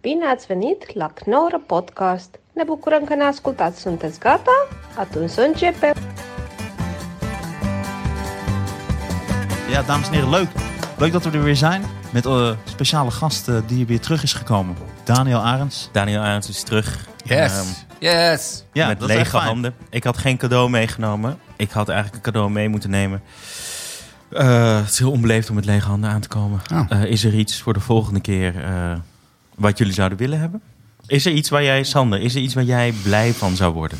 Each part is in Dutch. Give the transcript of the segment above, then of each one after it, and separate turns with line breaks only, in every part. Bine ați venit la Knorr Podcast! Ne bucurăm că ne ascultați! Sunteți gata? Atunci să începem!
Ja, dames en heren, leuk. Leuk dat we er weer zijn met eh, speciale gast eh, die weer terug is gekomen. Daniel Arends.
Daniel Arends is terug. Ehm,
Yes. yes.
Ja,
met
dat is echt
lege
fijn.
handen. Ik had geen cadeau meegenomen. Ik had eigenlijk een cadeau mee moeten nemen. Eh, het is heel onbeleefd om met lege handen aan te komen.
Ah.
Eh, is er iets voor de volgende keer eh, wat jullie zouden willen hebben? Is er iets waar jij, Sander, is er iets waar jij blij van zou worden?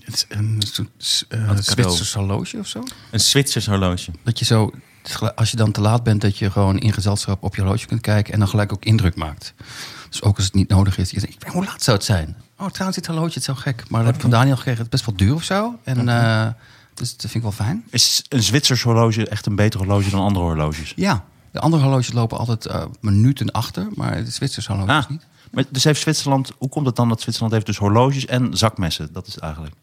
Het is een soort s- eh,
cadeau.
Zwitsers horloge of zo.
Een Zwitsers horloge.
Dat je zo, het is gel- als je dan te laat bent, dat je gewoon in gezelschap op je horloge kunt kijken en dan gelijk ook indruk maakt. Dus ook als het niet nodig is. Je denkt, "Ik- hoe laat zou het zijn? Oh, trouwens, dit horloge, het is zo gek. Maar dat heb ik van Daniel gekregen. Het is best wel duur of zo. En, eh, dus dat vind ik wel fijn.
Is een Zwitsers horloge echt een beter horloge dan andere horloges?
Ja. De andere horloges lopen altijd eh, minuten achter, maar de Zwitsers horloges
Ah,
niet.
maar dus heeft Zwitserland, hoe komt het dan dat Zwitserland heeft dus horloges en zakmessen? Dat is het eigenlijk.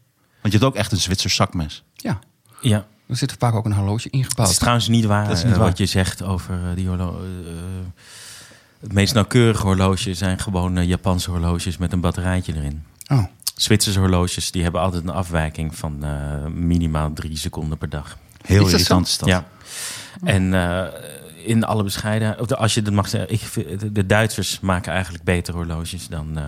Want je hebt ook echt een Zwitsers zakmes.
Ja.
Ja.
Er zit vaak ook een horloge
Dat
ingebouwd.
is trouwens niet waar,
Dat is niet
eh,
waar.
wat je zegt over eh, die horloge. het meest nauwkeurige horloge zijn gewoon eh, Japanse horloges met een batterijtje erin.
Oh.
Zwitserse horloges die hebben altijd een afwijking van eh, minimaal drie seconden per dag.
Heel
Is dat
irritant
zo?
is dat.
Ja. En eh, in alle bescheidenheid, of de- als je dat mag zeggen, ik, vind- de- de Duitsers maken eigenlijk betere horloges dan. eh,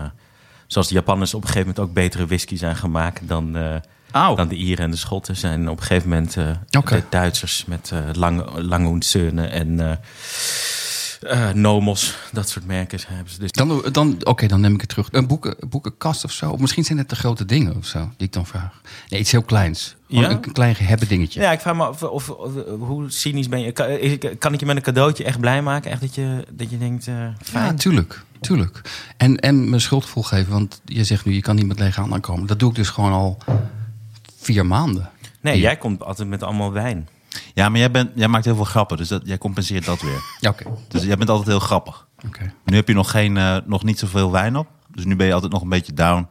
zoals de Japanners op een gegeven moment ook betere whisky zijn gemaakt dan, eh,
Auw.
dan de Ieren en de Schotten. Zijn op een gegeven moment eh,
Oké.
de Duitsers met eh, lange, lange Hoenzeunen en eh, eh, Nomos, dat soort merken hebben ze. Dus
Dan, dan, Oké, dan neem ik het terug. Een boeken, boekenkast of zo. Of misschien zijn het de grote dingen of zo, die ik dan vraag. Nee, iets heel kleins. Gewoon
Ja?
Een klein gehebben dingetje.
Ja, ik vraag me af of, of- hoe cynisch ben je. Kan, is- kan ik je met een cadeautje echt blij maken? Echt dat je, dat je denkt, eh,
Ja,
fijn.
tuurlijk. tuurlijk. En, en mijn schuldgevoel geven, want je zegt nu, je kan niet met lege handen komen. Dat doe ik dus gewoon al vier maanden.
nee,
Ja.
jij komt altijd met allemaal wijn.
Ja, maar jij, bent, jij maakt heel veel grappen, dus dat, jij compenseert dat weer.
Ja, oké.
Dus jij bent altijd heel grappig.
Oké.
Nu heb je nog, geen, eh, nog niet zoveel wijn op, dus nu ben je altijd nog een beetje down.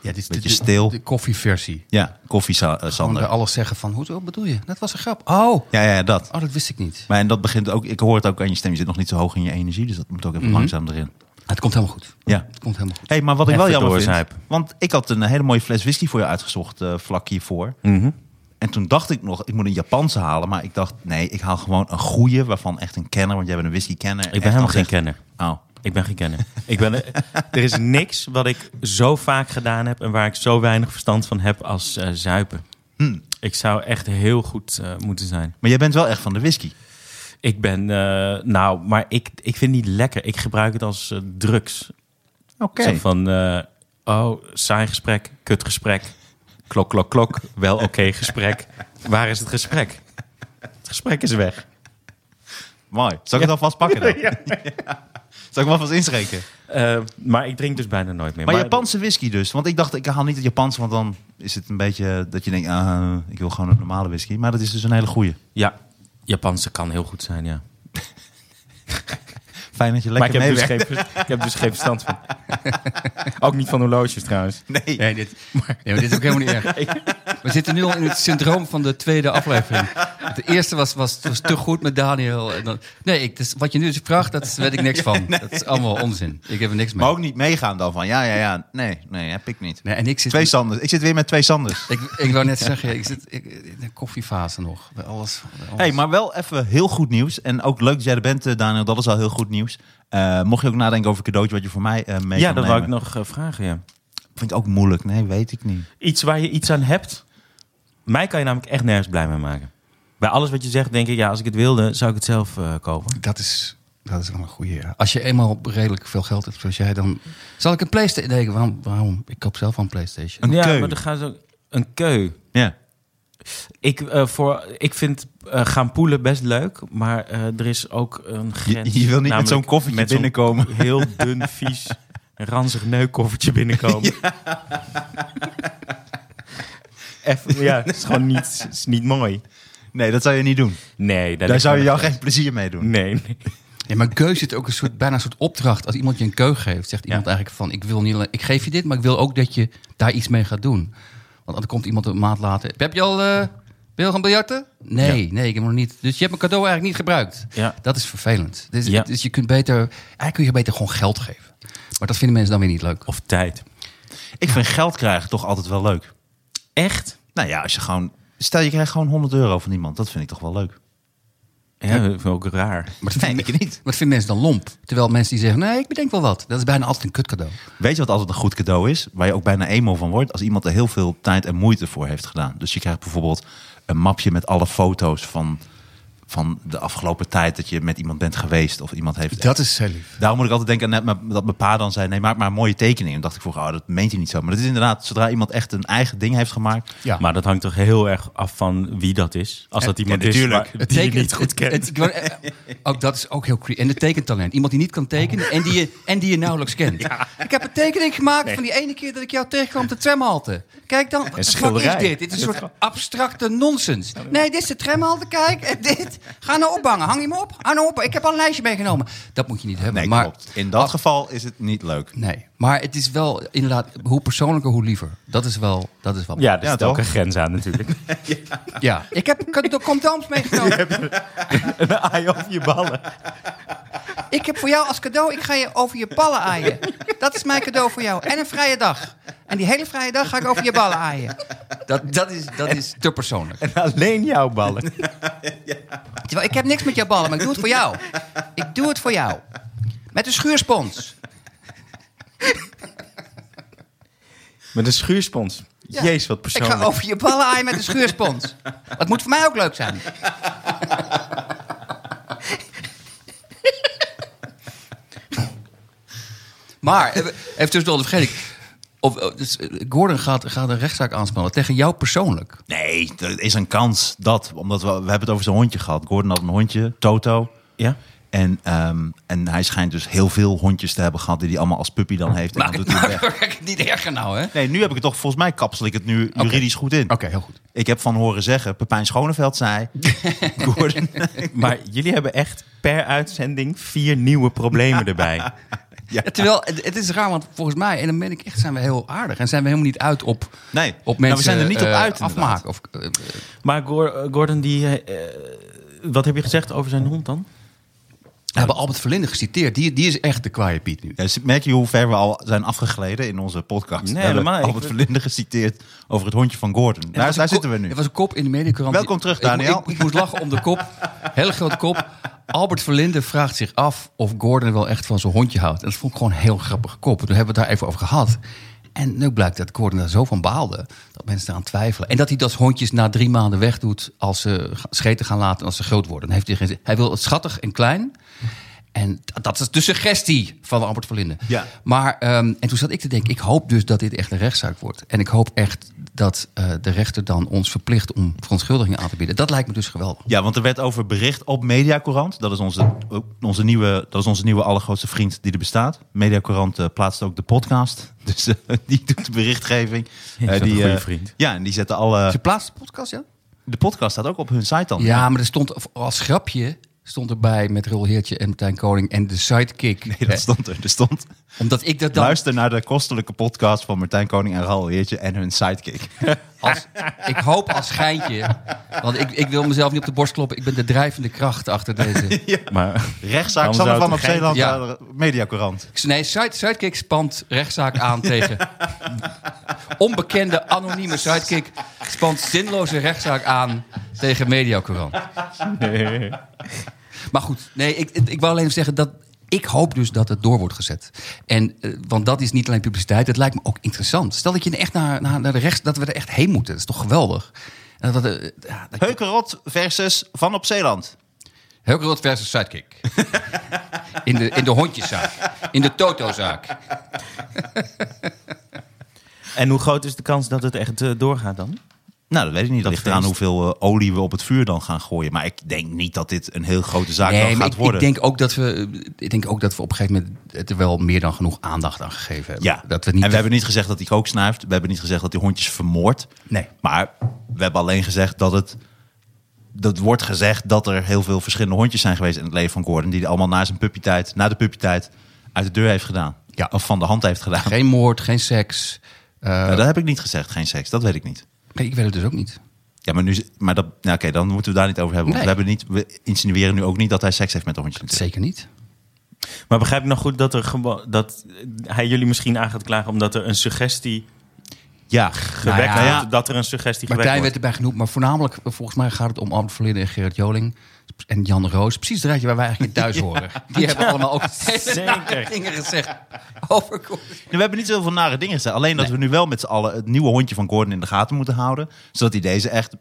Ja, dit is
Beetje stil.
De, koffieversie.
Ja, koffie, Sa- eh,
Gewoon
Sander.
bij alles zeggen van, hoe wat bedoel je? Dat was een grap. Oh, oh
Ja, ja, dat.
dat wist ik niet.
Maar en dat begint ook, ik hoor het ook aan je stem. Je zit nog niet zo hoog in je energie, dus dat moet ook even
Mhm.
langzaam erin.
Het komt helemaal goed.
Ja.
Het komt helemaal goed.
hey, maar wat ik
Even
wel jammer vind,
doorzuipen.
want ik had een hele mooie fles whisky voor je uitgezocht eh, vlak hiervoor.
Mhm.
En toen dacht ik nog, ik moet een Japanse halen, maar ik dacht, nee, ik haal gewoon een goede, waarvan echt een kenner, want jij bent een whisky kenner.
Ik ben helemaal geen kenner.
Oh.
Ik ben geen kenner. ik ben, eh, er is niks wat ik zo vaak gedaan heb en waar ik zo weinig verstand van heb als eh, zuipen. Ik zou echt heel goed eh, moeten zijn.
Maar jij bent wel echt van de whisky.
Ik ben, eh, nou, maar ik, ik vind het niet lekker. Ik gebruik het als eh, drugs.
Oké.
Zo van, eh, oh, saai gesprek, kut gesprek, klok, klok, klok, wel oké gesprek. Waar is het gesprek? Het gesprek is weg.
Mooi. Zal ik het alvast pakken dan? Zal ik hem alvast inschenken?
Eh, maar ik drink dus bijna nooit meer.
Maar, Japanse whisky dus. Want ik dacht, ik haal niet het Japanse, want dan is het een beetje dat je denkt, ah, ik wil gewoon een normale whisky. Maar dat is dus een hele goede.
Ja, Japanse kan heel goed zijn, ja.
Fijn dat je
Maar ik
lekker
heb, dus
meewerkt.
geen, ik heb dus geen verstand van. Ook niet van horloges trouwens.
Nee.
Nee, dit, nee, maar dit is ook helemaal niet erg. We zitten nu al in het syndroom van de tweede aflevering. De eerste was, was, was te goed met Daniel. En dan, nee, ik, dus, wat je nu dus vraagt, dat is- weet ik niks van. Dat is allemaal onzin. Ik heb er niks mee.
Maar ook niet meegaan dan van, ja, ja, ja. Nee, nee, heb ik niet.
Nee, en ik zit,
Twee Sanders. Ik zit weer met twee Sanders.
ik, ik wou net zeggen, ik zit ik, in de koffiefase nog. Bij alles. bij alles.
hey, maar wel even heel goed nieuws. En ook leuk dat jij er bent, eh, Daniel. Dat is al heel goed nieuws. Eh, mocht je ook nadenken over een cadeautje wat je voor mij eh mee
Ja,
kan
dat
nemen.
wou ik nog eh, vragen, ja.
Vind ik ook moeilijk. Nee, weet ik niet.
Iets waar je iets aan hebt. Mij kan je namelijk echt nergens blij mee maken. Bij alles wat je zegt denk ik, ja, als ik het wilde, zou ik het zelf eh, kopen.
Dat is, dat is wel een goede. Ja. Als je eenmaal redelijk veel geld hebt zoals jij, dan... Zal ik een Playstation... Nee, waarom, waarom? Ik koop zelf al een Playstation.
Een
ja,
keu.
maar dan gaan ze... Een keu.
Ja.
Ik, eh, voor, ik vind eh, gaan poelen best leuk, maar eh, er is ook een grens.
je wil niet met
Namelijk
zo'n koffertje
met zo'n
binnenkomen.
Heel dun, vies, ranzig neukkoffertje binnenkomen. Ja. Even, ja, het is gewoon niet, het is niet mooi.
Nee, dat zou je niet doen.
Nee, daar,
Daar zou je jou geen plezier mee doen.
Nee, nee.
Ja, maar keu zit ook een soort, bijna een soort opdracht. Als iemand je een keu geeft, zegt iemand eigenlijk van... Ik, wil niet, alleen- ik geef je dit, maar ik wil ook dat je daar iets mee gaat doen. Want dan komt iemand een maand later... Heb je al... eh wil je gaan biljarten? Nee, nee, ik heb nog niet. Dus je hebt mijn cadeau eigenlijk niet gebruikt.
Ja.
Dat is vervelend. Dus,
Ja.
dus je kunt beter... Eigenlijk kun je beter gewoon geld geven.
Maar dat vinden mensen dan weer niet leuk.
Of tijd.
Ik vind geld krijgen toch altijd wel leuk.
Echt?
Nou ja, als je gewoon... Stel, je krijgt gewoon 100 euro van iemand. Dat vind ik toch wel leuk.
Ja, dat vind ik ook raar.
Maar dat
Nee,
vinden-
ik niet.
Maar dat vinden mensen dan lomp. Terwijl mensen die zeggen, nee, ik bedenk wel wat. Dat is bijna altijd een kutcadeau.
Weet je wat altijd een goed cadeau is? Waar je ook bijna emo van wordt? Als iemand er heel veel tijd en moeite voor heeft gedaan. Dus je krijgt bijvoorbeeld een mapje met alle foto's van, van de afgelopen tijd dat je met iemand bent geweest. Of iemand heeft.
Dat is heel lief.
Daarom moet ik altijd denken aan net mijn- dat mijn pa dan zei: nee, maak maar een mooie tekening. En dacht ik vroeger, oh, dat meent hij niet zo. Maar dat is inderdaad, zodra iemand echt een eigen ding heeft gemaakt.
Ja.
Maar dat hangt toch heel erg af van wie dat is. Als dat iemand is
natuurlijk.
waar- die je niet goed
het-
kent.
het- ik wou- eh, ook dat is ook heel creepy. En het tekentalent. Iemand die niet kan tekenen en die je, en die je nauwelijks kent. Ik heb een tekening gemaakt van die ene keer dat ik jou tegenkwam op de tramhalte. Kijk dan, wat de fuck is
schilderij.
dit? Dit is een soort abstracte nonsens. Nee, dit is de tramhalte, kijk. En dit. Ga nou ophangen. Hang je me op? Hang nou op. Ik heb al een lijstje meegenomen. Dat moet je niet hebben.
Nee,
maar,
klopt. In dat geval is het niet leuk.
Nee, maar het is wel inderdaad, hoe persoonlijker, hoe liever. Dat is wel, dat is wel.
Ja, er
Ja,
zit
toch?
ook een grens aan natuurlijk.
ja. Ik heb cad- condooms meegenomen.
een aai op je ballen.
Ik heb voor jou als cadeau, ik ga je over je ballen aaien. Dat is mijn cadeau voor jou. En een vrije dag. En die hele vrije dag ga ik over je ballen aaien. Dat, dat, is, dat is te persoonlijk.
Alleen jouw ballen.
Terwijl ik heb niks met jouw ballen, maar ik doe het voor jou. Ik doe het voor jou. Met een schuurspons.
Met een schuurspons.
Ja.
Jezus, wat
Ik ga
persoonlijk.
over je ballen aaien met een schuurspons. Dat moet voor mij ook leuk zijn. Maar, even even tussendoor, dat vergeet ik. Of, eh, dus, eh, Gordon gaat, gaat een rechtszaak aanspannen tegen jou persoonlijk.
Nee, er is een kans dat. Omdat we, we hebben het over zijn hondje gehad. Gordon had een hondje, Toto.
Ja?
En, ehm, en hij schijnt dus heel veel hondjes te hebben gehad die hij allemaal als puppy dan heeft. En dan doet hij het weg.
Kijk, het niet erger nou, hè?
Nee, nu heb ik het toch, volgens mij kapsel ik het nu juridisch goed in.
Oké, heel goed.
Ik heb van horen zeggen, Pepijn Schoneveld zei... Gordon,
Maar jullie hebben echt per uitzending vier nieuwe problemen erbij.
Ja, terwijl, het, het is raar, want volgens mij, en dan ben ik echt, zijn we heel aardig. En zijn we helemaal niet uit op,
nee,
op mensen
nou, we zijn er niet op
eh,
uit. inderdaad.
afmaken. Of, eh,
Maar Gor- eh, Gordon, die, eh, eh, wat heb je gezegd over zijn hond dan?
we hebben Albert Verlinde geciteerd. Die, die is echt de kwaaie Piet nu.
Ja, dus merk je hoe ver we al zijn afgegleden in onze podcast?
Nee,
we hebben
helemaal niet.
Albert Verlinde geciteerd over het hondje van Gordon.
En er
Daar,
was
daar
een
zitten we
kop-
nu.
Er was een kop in de mediakrant.
Welkom terug,
Ik mo-
Daniel.
Ik, ik moest lachen om de kop. Hele grote kop. Albert Verlinde vraagt zich af of Gordon wel echt van zijn hondje houdt. En dat vond ik gewoon een heel grappige kop. Toen hebben we het daar even over gehad. En nu blijkt dat Gordon daar zo van baalde. Dat mensen eraan twijfelen. En dat hij dat hondjes na drie maanden wegdoet als ze ga- scheten gaan laten en als ze groot worden. Dan heeft hij, geen zin. hij wil het schattig en klein. En dat- dat is de suggestie van Albert Verlinde.
Ja.
Maar, ehm, en toen zat ik te denken, ik hoop dus dat dit echt een rechtszaak wordt. En ik hoop echt dat eh, de rechter dan ons verplicht om verontschuldigingen aan te bieden. Dat lijkt me dus geweldig.
Ja, want er werd over bericht op Mediacorant. Dat is onze, oh, onze, nieuwe, dat is onze nieuwe allergrootste vriend die er bestaat. Mediacorant eh, plaatst ook de podcast. Dus eh, die doet de berichtgeving.
is
Eh,
dat een
die,
goede
eh,
vriend.
Ja, en die zetten alle...
Ze plaatst de podcast, ja?
De podcast staat ook op hun site dan.
Ja, maar er stond of- als grapje stond erbij met Roel Heertje en Martijn Koning en de sidekick.
Nee, dat
Eh,
stond er. Er stond...
Omdat ik dat dan
Luister naar de kostelijke podcast van Martijn Koning en Raoul Heertje en hun sidekick.
als, ik hoop als schijntje, want ik, ik wil mezelf niet op de borst kloppen. Ik ben de drijvende kracht achter deze.
Maar
Rechtszaak Sander
Waarom zou het
van op
een gein-
Zeeland,
Ja.
eh, Mediacorant.
Nee, side, Sidekick spant rechtszaak aan tegen. Onbekende, anonieme Sidekick spant zinloze rechtszaak aan tegen Mediacorant. Maar goed, nee, ik, ik wou alleen even zeggen dat ik hoop dus dat het door wordt gezet. En, eh, want dat is niet alleen publiciteit, het lijkt me ook interessant. Stel dat je echt naar, naar, naar de rechts, dat we er echt heen moeten. Dat is toch geweldig? En Dat, eh, ja, dat,
Heukenrot versus Van op Zeeland.
Heukelrot versus Sidekick. In de, in de hondjeszaak. In de totozaak.
En hoe groot is de kans dat het echt eh, doorgaat dan?
Nou, dat weet ik niet. Dat
Dat
ligt eraan
feest.
hoeveel eh, olie we op het vuur dan gaan gooien. Maar ik denk niet dat dit een heel grote zaak
Nee,
dan
maar
gaat
ik, ik
worden.
denk ook dat we, ik denk ook dat we op een gegeven moment er wel meer dan genoeg aandacht aan gegeven hebben.
Ja,
Dat we niet
en we hebben niet gezegd dat hij kook snuift. We hebben niet gezegd dat hij hondjes vermoordt.
Nee.
Maar we hebben alleen gezegd dat het... Dat wordt gezegd dat er heel veel verschillende hondjes zijn geweest in het leven van Gordon. Die hij allemaal na zijn puppytijd, na de puppytijd, uit de deur heeft gedaan.
Ja.
Of van de hand heeft gedaan.
geen moord, geen seks. Eh,
Nou, dat heb ik niet gezegd, geen seks. Dat weet ik niet.
nee, ik weet het dus ook niet.
Ja, maar, nu, z- maar dat, nou, oké, dan moeten we daar niet over hebben. Want
Nee.
we, hebben niet, we insinueren nu ook niet dat hij seks heeft met de hondjes. natuurlijk.
Zeker niet.
Maar begrijp ik nog goed dat, er gewo- dat hij jullie misschien aan gaat klagen omdat er een suggestie
Ja,
gewekt
ja,
wordt? Dat er een suggestie gewekt
Martijn
wordt?
werd erbij genoemd, maar voornamelijk, eh, volgens mij gaat het om Albert Verlinde en Gerrit Joling. En Jan Roos, precies het rijtje waar wij eigenlijk in thuis horen. Die hebben allemaal ook
Zeker.
dingen gezegd over Koen.
Nee, Nou, we hebben niet zoveel nare dingen gezegd. Alleen dat we nu wel met z'n allen het nieuwe hondje van Gordon in de gaten moeten houden. Zodat hij deze echt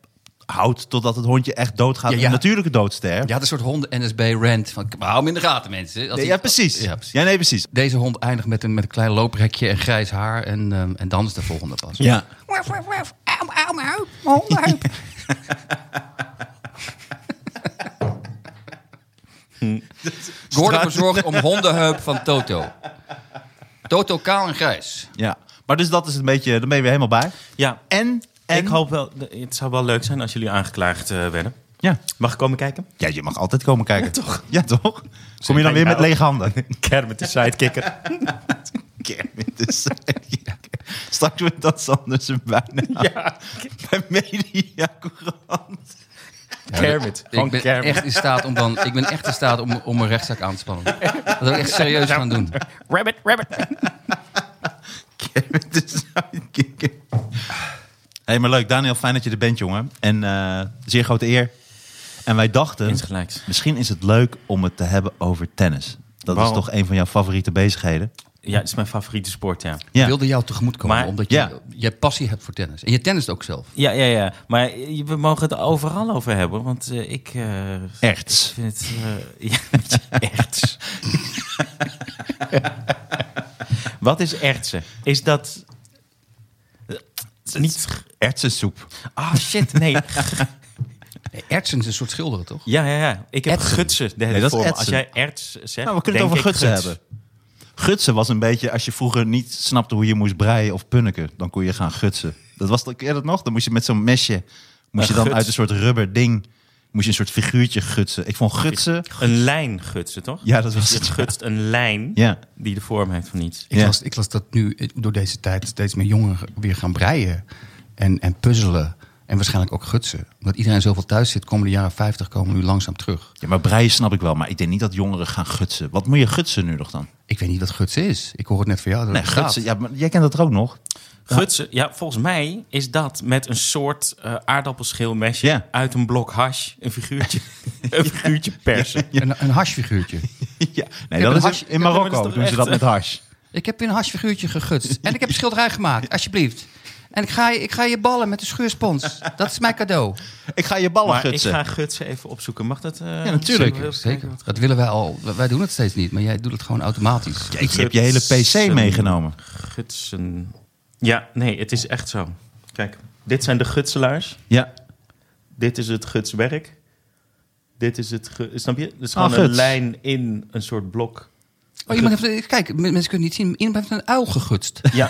houdt totdat het hondje echt doodgaat.
Ja,
Ja,
ja.
natuurlijke doodsterft.
Je had een soort honden-NSB-rant van, hou hem in de gaten mensen. Als
Nee,
hij-
ja, precies.
Ja,
Ja,
precies.
nee, precies.
Deze hond eindigt met een, met een klein looprekje en grijs haar en, ehm, en dan is de volgende pas.
Ja.
Waf, waf, waf. Auw, auw, mijn heup. Mijn hondenheup.
Gordon bezorgd om hondenheup van Toto. Toto kaal en grijs.
ja. Maar dus dat is een beetje, dan ben je weer helemaal bij.
Ja,
En, en
ik hoop wel, het zou wel leuk zijn als jullie aangeklaagd eh, werden.
Ja.
Mag ik komen kijken?
ja, je mag altijd komen kijken. Ja, toch? Ja, toch? Kom je dan weer met lege handen?
Kermit de sidekicker.
Kermit de sidekicker. Straks wordt dat Sanders een bijna
ja,
bij Media Courant.
Kermit. Gewoon
ik ben
Kermit.
echt in staat om dan, ik ben echt in staat om, om een rechtszaak aan te spannen. Dat wil ik echt serieus gaan doen.
Rabbit, rabbit.
Kermit de sidekicker. hey, maar leuk. Daniel, fijn dat je er bent, jongen. En eh, zeer grote eer. En wij dachten,
Insgelijks.
misschien is het leuk om het te hebben over tennis. Dat
Waarom?
is toch een van jouw favoriete bezigheden?
Ja, het is mijn favoriete sport, ja.
Ja.
wilde jou tegemoetkomen,
Maar-
omdat je,
ja.
je passie hebt voor tennis. En je tennist ook zelf.
Ja, ja, ja. Maar eh, we mogen het overal over hebben, want eh, ik eh,
Echt.
vind het... eh, ja, een beetje erts. Wat is ertsen? Is dat... eh, Niet...
Ertsensoep.
Ah, shit, nee.
Nee, Ertsen is een soort schilderen, toch?
Ja, ja, ja. Ik heb
Etsen.
gutsen de hele
Nee, dat is
voor me.
etsen.
Als jij erts zegt,
Nou, we kunnen het
denk
over gutsen
ik guts.
hebben. Gutsen was een beetje, als je vroeger niet snapte hoe je moest breien of punniken, dan kon je gaan gutsen. Dat was, ken je dat nog? Dan moest je met zo'n mesje, moest
Een
je dan
guts.
uit een soort rubber ding, moest je een soort figuurtje gutsen. Ik vond gutsen,
Een lijn gutsen, toch? Dus
Ja, dat was
Je
het, ja.
gutst een lijn
Ja.
die de vorm heeft van iets.
Ja.
Ik, las, ik las dat nu eh, door deze tijd steeds meer jongeren weer gaan breien en, en puzzelen. En waarschijnlijk ook gutsen. Omdat iedereen zoveel thuis zit, komen de jaren 50 komen nu langzaam terug.
ja, maar breien snap ik wel, maar ik denk niet dat jongeren gaan gutsen. Wat moet je gutsen nu nog dan?
Ik weet niet wat gutsen is. Ik hoor het net van jou. Dat
Nee,
het bestaat.
gutsen, ja, maar jij kent dat er ook nog.
Gutsen, ja, volgens mij is dat met een soort eh, aardappelschilmesje
Ja.
uit een blok hash een figuurtje, een figuurtje persen.
Een, een hashfiguurtje.
Ja, nee, dat
een
is
hash-
in Marokko
dat is toch
doen ze
echt,
dat
eh,
met hars.
ik heb weer een hashfiguurtje gegutst. En ik heb een schilderij gemaakt, alsjeblieft. En ik ga, je- ik ga je ballen met de schuurspons. Dat is mijn cadeau.
Ik ga je ballen
Maar
gutsen.
ik ga gutsen even opzoeken. Mag dat? eh,
Ja, natuurlijk.
zullen we even
Zeker.
kijken wat-
Dat willen wij al. Wij doen het steeds niet, maar jij doet het gewoon automatisch.
Jeetje, Dus je hebt je hele
Gutsen.
pc meegenomen.
Gutsen. Ja, nee, het is echt zo. Kijk, dit zijn de gutselaars.
Ja,
Dit is het gutswerk. Dit is het. gu- Snap je? Het is gewoon
Ah,
een
guts.
lijn in een soort blok.
Oh, iemand heeft, kijk, m- mensen kunnen niet zien. Iemand heeft een uil gegutst.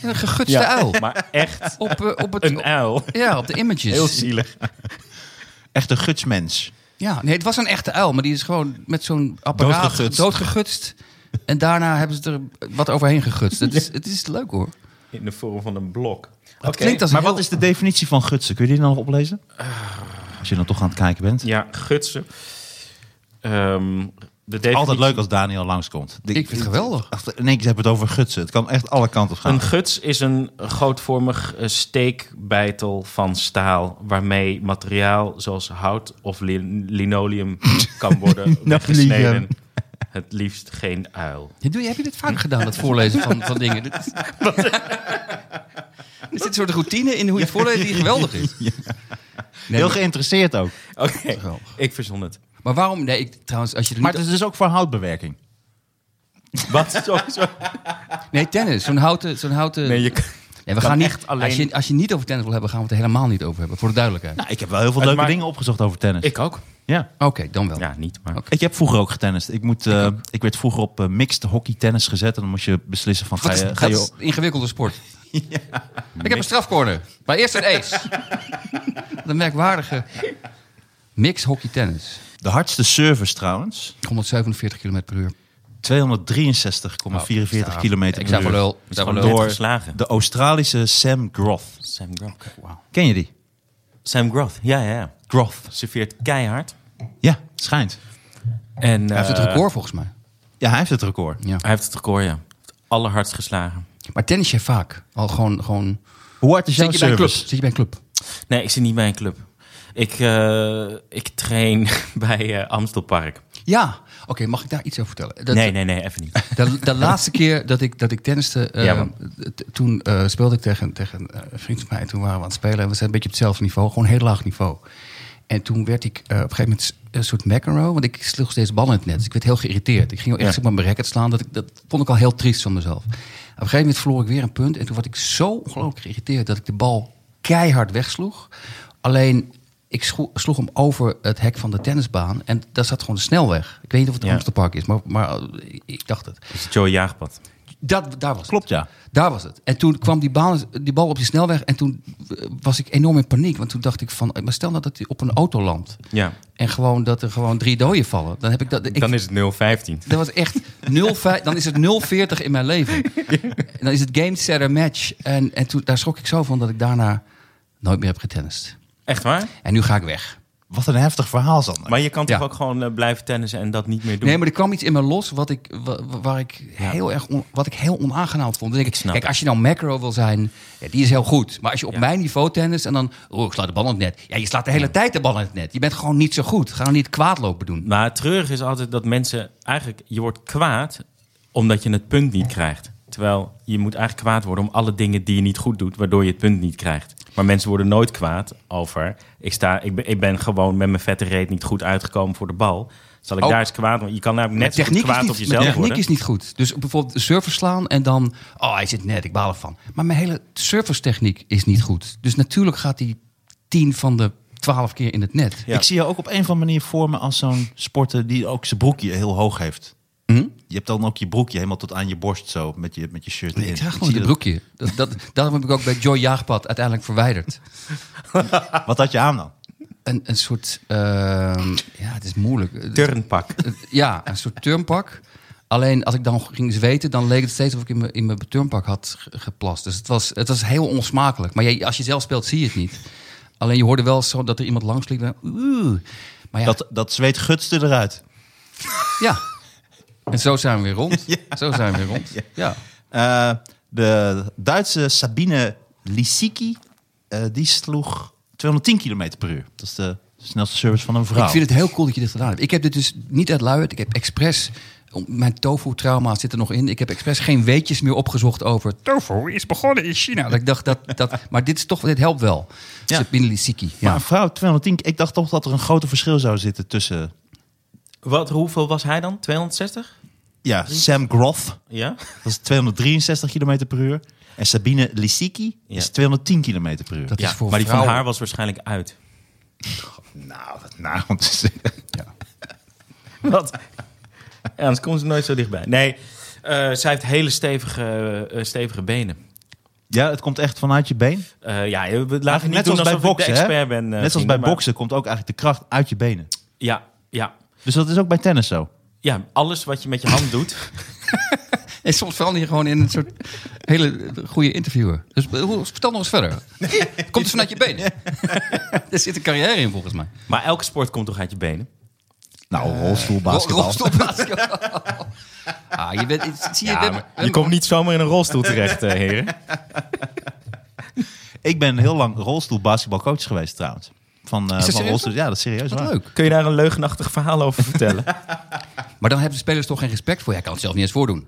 Ja,
Een gegutste uil.
maar echt
Op, eh, op het,
een uil.
ja, op de images.
Heel zielig.
echt een gutsmens.
Ja, nee, het was een echte uil, maar die is gewoon met zo'n apparaat
Doodgegutst.
doodgegutst. En daarna hebben ze er wat overheen gegutst. Het is, het is leuk hoor.
In de vorm van een blok.
Het klinkt als
Maar
een
wat is de definitie van gutsen? Kun je die dan nog oplezen? Als je dan toch aan het kijken bent.
Ja, gutsen. Ehm, de definitie-
Altijd leuk als Daniel langskomt.
heel- Ik vind het geweldig.
Ach, in één keer hebben we het over gutsen. Het kan echt alle kanten op gaan.
Ah.
Een guts is een grootvormig eh, steekbeitel van staal... waarmee materiaal zoals hout of lin- linoleum kan worden gesneden. Het liefst geen uil.
Ja, doe je- Heb je dit vaak gedaan, dat voorlezen van, van dingen? Dit is- er zit een soort routine in hoe je het voorleest die geweldig is.
Heel geïnteresseerd ook.
Oké, ik verzon het.
Maar waarom? Nee, ik, trouwens, als je er
Maar
niet...
het is dus ook voor houtbewerking.
Wat? Sorry, sorry.
Nee, tennis. Zo'n houten... Zo'n houten...
Nee, je kan-
Nee, we gaan niet,
echt alleen-
als, je, als je niet over tennis wil hebben, gaan we het er helemaal niet over hebben. Voor de duidelijkheid.
Nou, ik heb wel heel veel leuke
maakt-
dingen opgezocht over tennis.
Ik ook.
ja.
Oké, dan wel.
Ja, niet,
Oh.
maar...
ik heb vroeger ook getennist. Ik, moet, eh, ik werd vroeger op eh, mixed hockey tennis gezet. En dan moest je beslissen van ga
Wat is,
je... Ga je
dat is een ingewikkelde sport. Ik heb een strafcorner. Maar eerst een ace. Wat een merkwaardige mix hockey tennis.
de hardste service trouwens.
147 km per uur.
263,44
Oh,
kilometer
Ik
per
zou wel
uur.
lul. Ik
is
zou wel
gewoon door-
lul.
Door
geslagen.
de Australische Sam Groth.
Sam Groth.
Ken je die?
Sam Groth, ja, ja, ja.
Groth.
Serveert keihard.
Ja, schijnt.
En,
Hij heeft het
eh,
record volgens mij.
Ja, hij heeft het record.
Ja.
Hij heeft het record, ja. Allerhardst geslagen.
Maar tennis je vaak. Al gewoon, gewoon...
Hoe hard is jouw
Zit je bij een club?
service?
Zit je bij een club?
Nee, ik zit niet bij een club. Ik, eh, ik train bij eh Amstelpark.
Ja. Oké, mag ik daar iets over vertellen? Dat-
nee, nee, nee, even niet.
De, de laatste keer dat ik, dat ik tenniste, eh,
Ja, man.
t- toen eh, speelde ik tegen, tegen eh, een vriend van mij. En toen waren we aan het spelen. En we zijn een beetje op hetzelfde niveau. Gewoon heel laag niveau. En toen werd ik eh, op een gegeven moment s- een soort McEnroe. Want ik sloeg steeds ballen in het net. Dus ik werd heel geïrriteerd. Ik ging ook echt
Ja.
op mijn racket slaan. Dat, ik, dat vond ik al heel triest van mezelf. Op een gegeven moment verloor ik weer een punt. En toen werd ik zo ongelooflijk geïrriteerd dat ik de bal keihard wegsloeg. Alleen... Ik scho- sloeg hem over het hek van de tennisbaan. En daar zat gewoon de snelweg. Ik weet niet of het
Ja.
Amstelpark is, maar, maar eh, ik dacht het.
Het is Joey Jaagpad.
Dat, daar was
Klopt,
het.
ja.
Daar was het. En toen kwam die, baan, die bal op die snelweg en toen eh, was ik enorm in paniek. Want toen dacht ik van, maar stel nou dat hij op een auto landt.
Ja.
En gewoon dat er gewoon drie doden vallen. Dan heb ik dat... Ik,
Dan is het 015.
dat was echt 05 dan is het 040 in mijn leven. En Dan is het game, setter, match. En, en toen, daar schrok ik zo van dat ik daarna nooit meer heb getennist.
Echt waar?
En nu ga ik weg.
Wat een heftig verhaal, Sander.
Maar je kan toch
Ja.
ook gewoon eh, blijven tennissen en dat niet meer doen?
Nee, maar er kwam iets in me los wat ik, wa- wa- waar ik heel erg on- wat ik heel onaangenaam vond. Dan denk ik,
snap
kijk,
het.
als je nou macro wil zijn, ja, die is heel goed. Maar als je op
Ja.
mijn niveau tennis en dan, oh, ik sla de bal in het net. Ja, je slaat de hele tijd de bal in het net. Je bent gewoon niet zo goed. Ga nou niet kwaad lopen doen.
Maar het treurige is altijd dat mensen eigenlijk... Je wordt kwaad omdat je het punt niet krijgt. Terwijl je moet eigenlijk kwaad worden om alle dingen die je niet goed doet... waardoor je het punt niet krijgt. Maar mensen worden nooit kwaad over... Ik, sta, ik, ben, ik ben gewoon met mijn vette reet niet goed uitgekomen voor de bal. Zal ik
Ook.
daar eens kwaad worden? Je kan namelijk net zo goed
Techniek,
kwaad
is
op
niet,
jezelf
mijn techniek
worden.
is niet goed. Dus bijvoorbeeld servers slaan en dan, oh, hij zit net, ik baal ervan. Maar mijn hele servicetechniek is niet goed. Dus natuurlijk gaat die tien van de twaalf keer in het net.
Ja.
Ik zie je ook op een of andere manier voor me als zo'n sporter die ook zijn broekje heel hoog heeft. Je hebt dan ook je broekje helemaal tot aan je borst zo, met je, met je shirt
Nee,
erin.
ik draag
zie
gewoon een
dat-
broekje. Dat, dat, daarom heb ik ook bij Joy Jaagpad uiteindelijk verwijderd.
Wat had je aan dan?
een, een soort. ehm, ja, het is moeilijk.
Turnpak.
Eh, Ja, een soort turnpak. Alleen als ik dan ging zweten, dan leek het steeds of ik in mijn, in mijn turnpak had ge- geplast. Dus het was, het was heel onsmakelijk. Maar jij- als je zelf speelt, zie je het niet. Alleen je hoorde wel zo dat er iemand langs liep. en, "Oeh." Maar ja,
Dat, dat zweet gutste eruit.
ja. En zo zijn we weer rond. Zo zijn we weer rond. Ja.
Eh, de Duitse Sabine Lisicki, eh, die sloeg 210 km per uur. Dat is de snelste service van een vrouw.
Nou.
Ik vind het heel cool dat je dit gedaan hebt. Ik heb dit dus niet uit luiheid. Ik heb expres... Mijn tofu-trauma zit er nog in. Ik heb expres geen weetjes meer opgezocht over
Tofu is begonnen in China.
Nou, dat ik dacht dat, dat. Maar dit is toch, dit helpt wel.
Ja.
Ja. Sabine Lisicki.
Maar
Ja.
een vrouw 210, ik dacht toch dat er een groot verschil zou zitten tussen...
Wat, hoeveel was hij dan? 260?
Ja, Sam Groth,
Ja?
dat is 263 km per uur. En Sabine Lisicki
Ja.
is 210 km per uur.
Dat
ja
is voor
maar die van
vrouwen-
haar was waarschijnlijk uit.
Nou, wat nou om te zeggen.
Wat? Ja, anders komen ze nooit zo dichtbij. Nee, eh, zij heeft hele stevige, eh, stevige benen.
Ja, het komt echt vanuit je been.
Eh, ja, we laten
Eigenlijk
niet
net zoals
doen
bij
alsof ik de
boksen. hè?
expert ben. eh,
net zoals
vrienden,
bij
maar-
boksen komt ook eigenlijk de kracht uit je benen.
Ja, ja,
Dus dat is ook bij tennis zo.
ja, alles wat je met je hand doet.
En soms verander je gewoon in een soort hele goede interviewer. Dus eh, hoe- vertel nog eens verder. Komt het vanuit je benen? Er zit een carrière in volgens mij.
Maar elke sport komt toch uit je benen? Eh,
Nou, rolstoelbasketbal.
Rolstoelbasketbal. Ah, je bent, ik- zie je, dit-
je komt niet zomaar in een rolstoel terecht, eh, heren.
Ik ben heel lang rolstoelbasketbalcoach geweest trouwens. Van, eh, van
serieus?
rolstoel. Ja, dat is serieus
wat
waar.
leuk.
Kun je daar een leugenachtig verhaal over vertellen?
Maar dan hebben de spelers toch geen respect voor. Hij kan het zelf niet eens voordoen.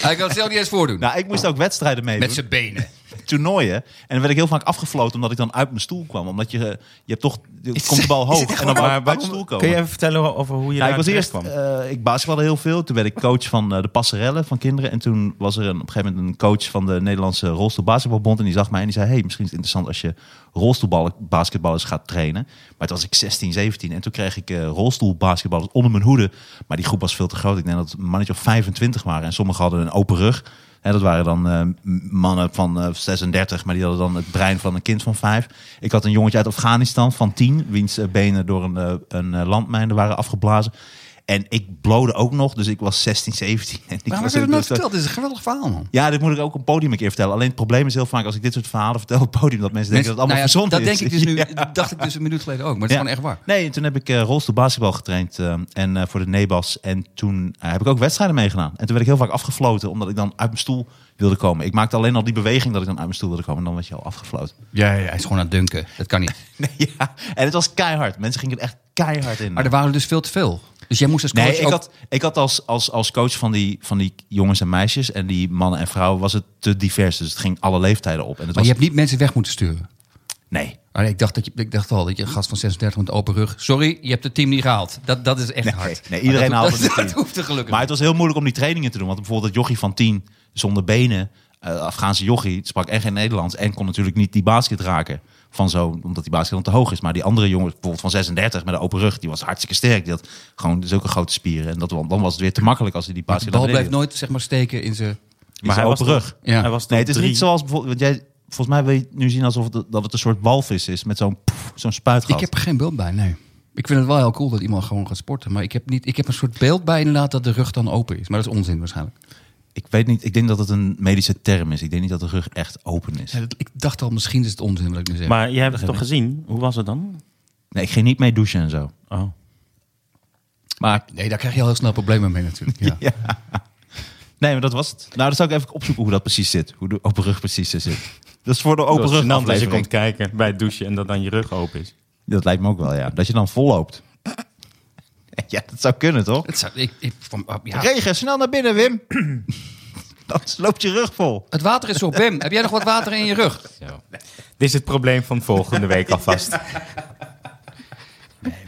Hij kan het zelf niet eens voordoen.
Nou, ik moest ook wedstrijden meedoen.
Met zijn benen.
toernooien. En dan werd ik heel vaak afgefloten omdat ik dan uit mijn stoel kwam. Omdat je, eh, je hebt toch, je komt de bal hoog en dan maar buiten stoel komen.
Kun je even vertellen over hoe
Nou,
je daar
ik was
terecht
eerst,
kwam?
eh, ik basketbalde heel veel. Toen werd ik coach van eh, de passerellen van kinderen. En toen was er een, op een gegeven moment een coach van de Nederlandse rolstoelbasketbalbond. En die zag mij en die zei, hey, misschien is het interessant als je rolstoelbasketballers gaat trainen. Maar toen was ik 16, 17. En toen kreeg ik eh rolstoelbasketballers onder mijn hoede. Maar die groep was veel te groot. Ik denk dat het een mannetje of 25 waren. En sommigen hadden een open rug. Hè, dat waren dan eh, m- mannen van eh, 36, maar die hadden dan het brein van een kind van 5. Ik had een jongetje uit Afghanistan van 10, wiens eh, benen door een, eh, een eh, landmijn er waren afgeblazen. En ik blode ook nog, dus ik was 16, 17. En ik
Waarom heb
was
je dat
ook- dus
nooit verteld? Dit is een geweldig verhaal, man.
Ja, dit moet ik ook op het podium een keer vertellen. Alleen het probleem is heel vaak als ik dit soort verhalen vertel op het podium... dat mensen denken dat het allemaal
nou ja,
verzonnen
dat
is.
denk ik dus nu,
Ja.
dat dacht ik dus een minuut geleden ook, maar het is
Ja.
gewoon echt waar.
Nee, toen heb ik eh rolstoelbasketbal getraind eh, en eh, voor de Nebas. En toen eh, heb ik ook wedstrijden meegedaan. En toen werd ik heel vaak afgefloten, omdat ik dan uit mijn stoel wilde komen. Ik maakte alleen al die beweging dat ik dan uit mijn stoel wilde komen. En dan werd je al afgefloten.
Ja, ja, hij is gewoon aan het dunken. Dat kan niet.
Nee, ja. En het was keihard. Mensen gingen er echt keihard in.
Maar er waren dus veel te veel. Dus jij moest als coach
Nee, ik
ook-
had, ik had als, als, als coach van die, van die jongens en meisjes en die mannen en vrouwen was het te divers. Dus het ging alle leeftijden op. En het
Maar
was,
je hebt niet mensen weg moeten sturen.
Nee,
Maar ik, dacht dat je, ik dacht al, dat je een gast van 36 met open rug... Sorry, je hebt het team niet gehaald. Dat, dat is echt
Nee,
hard.
nee, iedereen
Maar dat,
haalt het
dat,
team.
dat hoeft er gelukkig
Maar het was heel moeilijk om die trainingen te doen. Want bijvoorbeeld dat jochie van 10 zonder benen, eh, Afghaanse jochie, sprak echt geen Nederlands. En kon natuurlijk niet die basket raken. Van zo, omdat die basket dan te hoog is. Maar die andere jongen, bijvoorbeeld van 36 met een open rug, die was hartstikke sterk. Die had gewoon zulke grote spieren. En dat, dan was het weer te makkelijk als hij die
niet.
basket
De bal
naar beneden
blijft nooit zeg maar, steken in zijn...
hield. Maar hij was
toch-
rug.
Ja.
Hij was
Nee, het is niet
zo.
zoals bijvoorbeeld. Want jij, volgens mij wil je het nu zien alsof het, dat het een soort walvis is met zo'n poef, zo'n spuitgat.
Ik heb er geen beeld bij, nee. Ik vind het wel heel cool dat iemand gewoon gaat sporten. Maar ik heb, niet, ik heb een soort beeld bij inderdaad dat de rug dan open is. Maar dat is onzin waarschijnlijk.
Ik weet niet. Ik denk dat het een medische term is. Ik denk niet dat de rug echt open is.
Ja, dat- ik dacht al, misschien is het onzin wat ik nu zeg.
Maar jij hebt het toch gezien? Hoe was het dan?
Nee, ik ging niet mee douchen en zo.
Oh.
Maar
nee, daar krijg je al heel snel problemen mee natuurlijk. Ja.
Ja. Nee, maar dat was het. Nou, dan zou ik even opzoeken hoe dat precies zit. Hoe de open rug precies zit. Dat is voor de open
Dat was
rug
gênant als je komt
aflevering.
kijken bij het douchen en dat dan je rug open is.
Dat lijkt me ook wel, ja. Dat je dan vol loopt. Ja, dat zou kunnen, toch?
Het, zou, ik, ik, van, ah, ja.
Regen, snel naar binnen, Wim. Dan loopt je rug vol.
het water is op. Wim, heb jij nog wat water in je rug?
Dit is het probleem van volgende week alvast.
Maar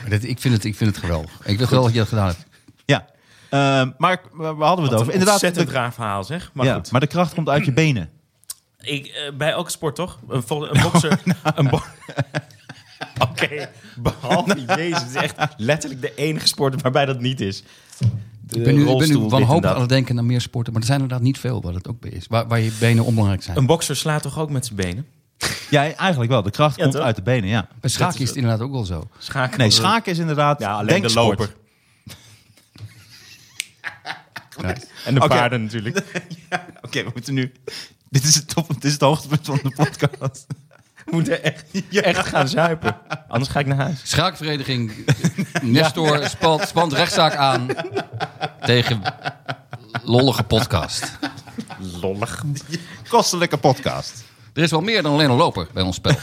dit- ik, vind het, ik vind het geweldig. Ik wil geweldig dat je dat gedaan hebt.
Ja. Ehm, maar waar hadden we het over?
Inderdaad,
Inderdaad,
ontzettend
de-
raar verhaal zeg. Maar
ja,
goed.
maar de kracht komt uit je benen.
Ik, eh, bij elke sport toch? Een, vol- een bokser. een bo- Oké, Nou. behalve Jezus. Het is echt letterlijk de enige sport waarbij dat niet is. De
Ik ben nu, ik ben
rolstoel, dit
nu
en
wanhopig
dat.
aan het denken naar meer sporten. Maar er zijn inderdaad niet veel waar dat ook bij is. Waar, waar je benen onbelangrijk zijn.
Een bokser slaat toch ook met zijn benen?
Ja, eigenlijk wel. De kracht
Ja,
komt
toch?
uit de benen, ja.
Bij schaken is het inderdaad ook wel zo.
Schaken.
Nee, schaken is inderdaad
Ja, alleen de
denksport.
loper. En de
Oké.
paarden natuurlijk.
Oké, we moeten nu... Dit is, het top, dit is het hoogtepunt van de podcast.
We moeten echt, echt gaan zuipen. Anders ga ik naar huis.
Schaakvereniging Nestor spant, spant rechtszaak aan tegen lollige podcast.
Lollig.
Kostelijke podcast.
Er is wel meer dan alleen een loper bij ons spel.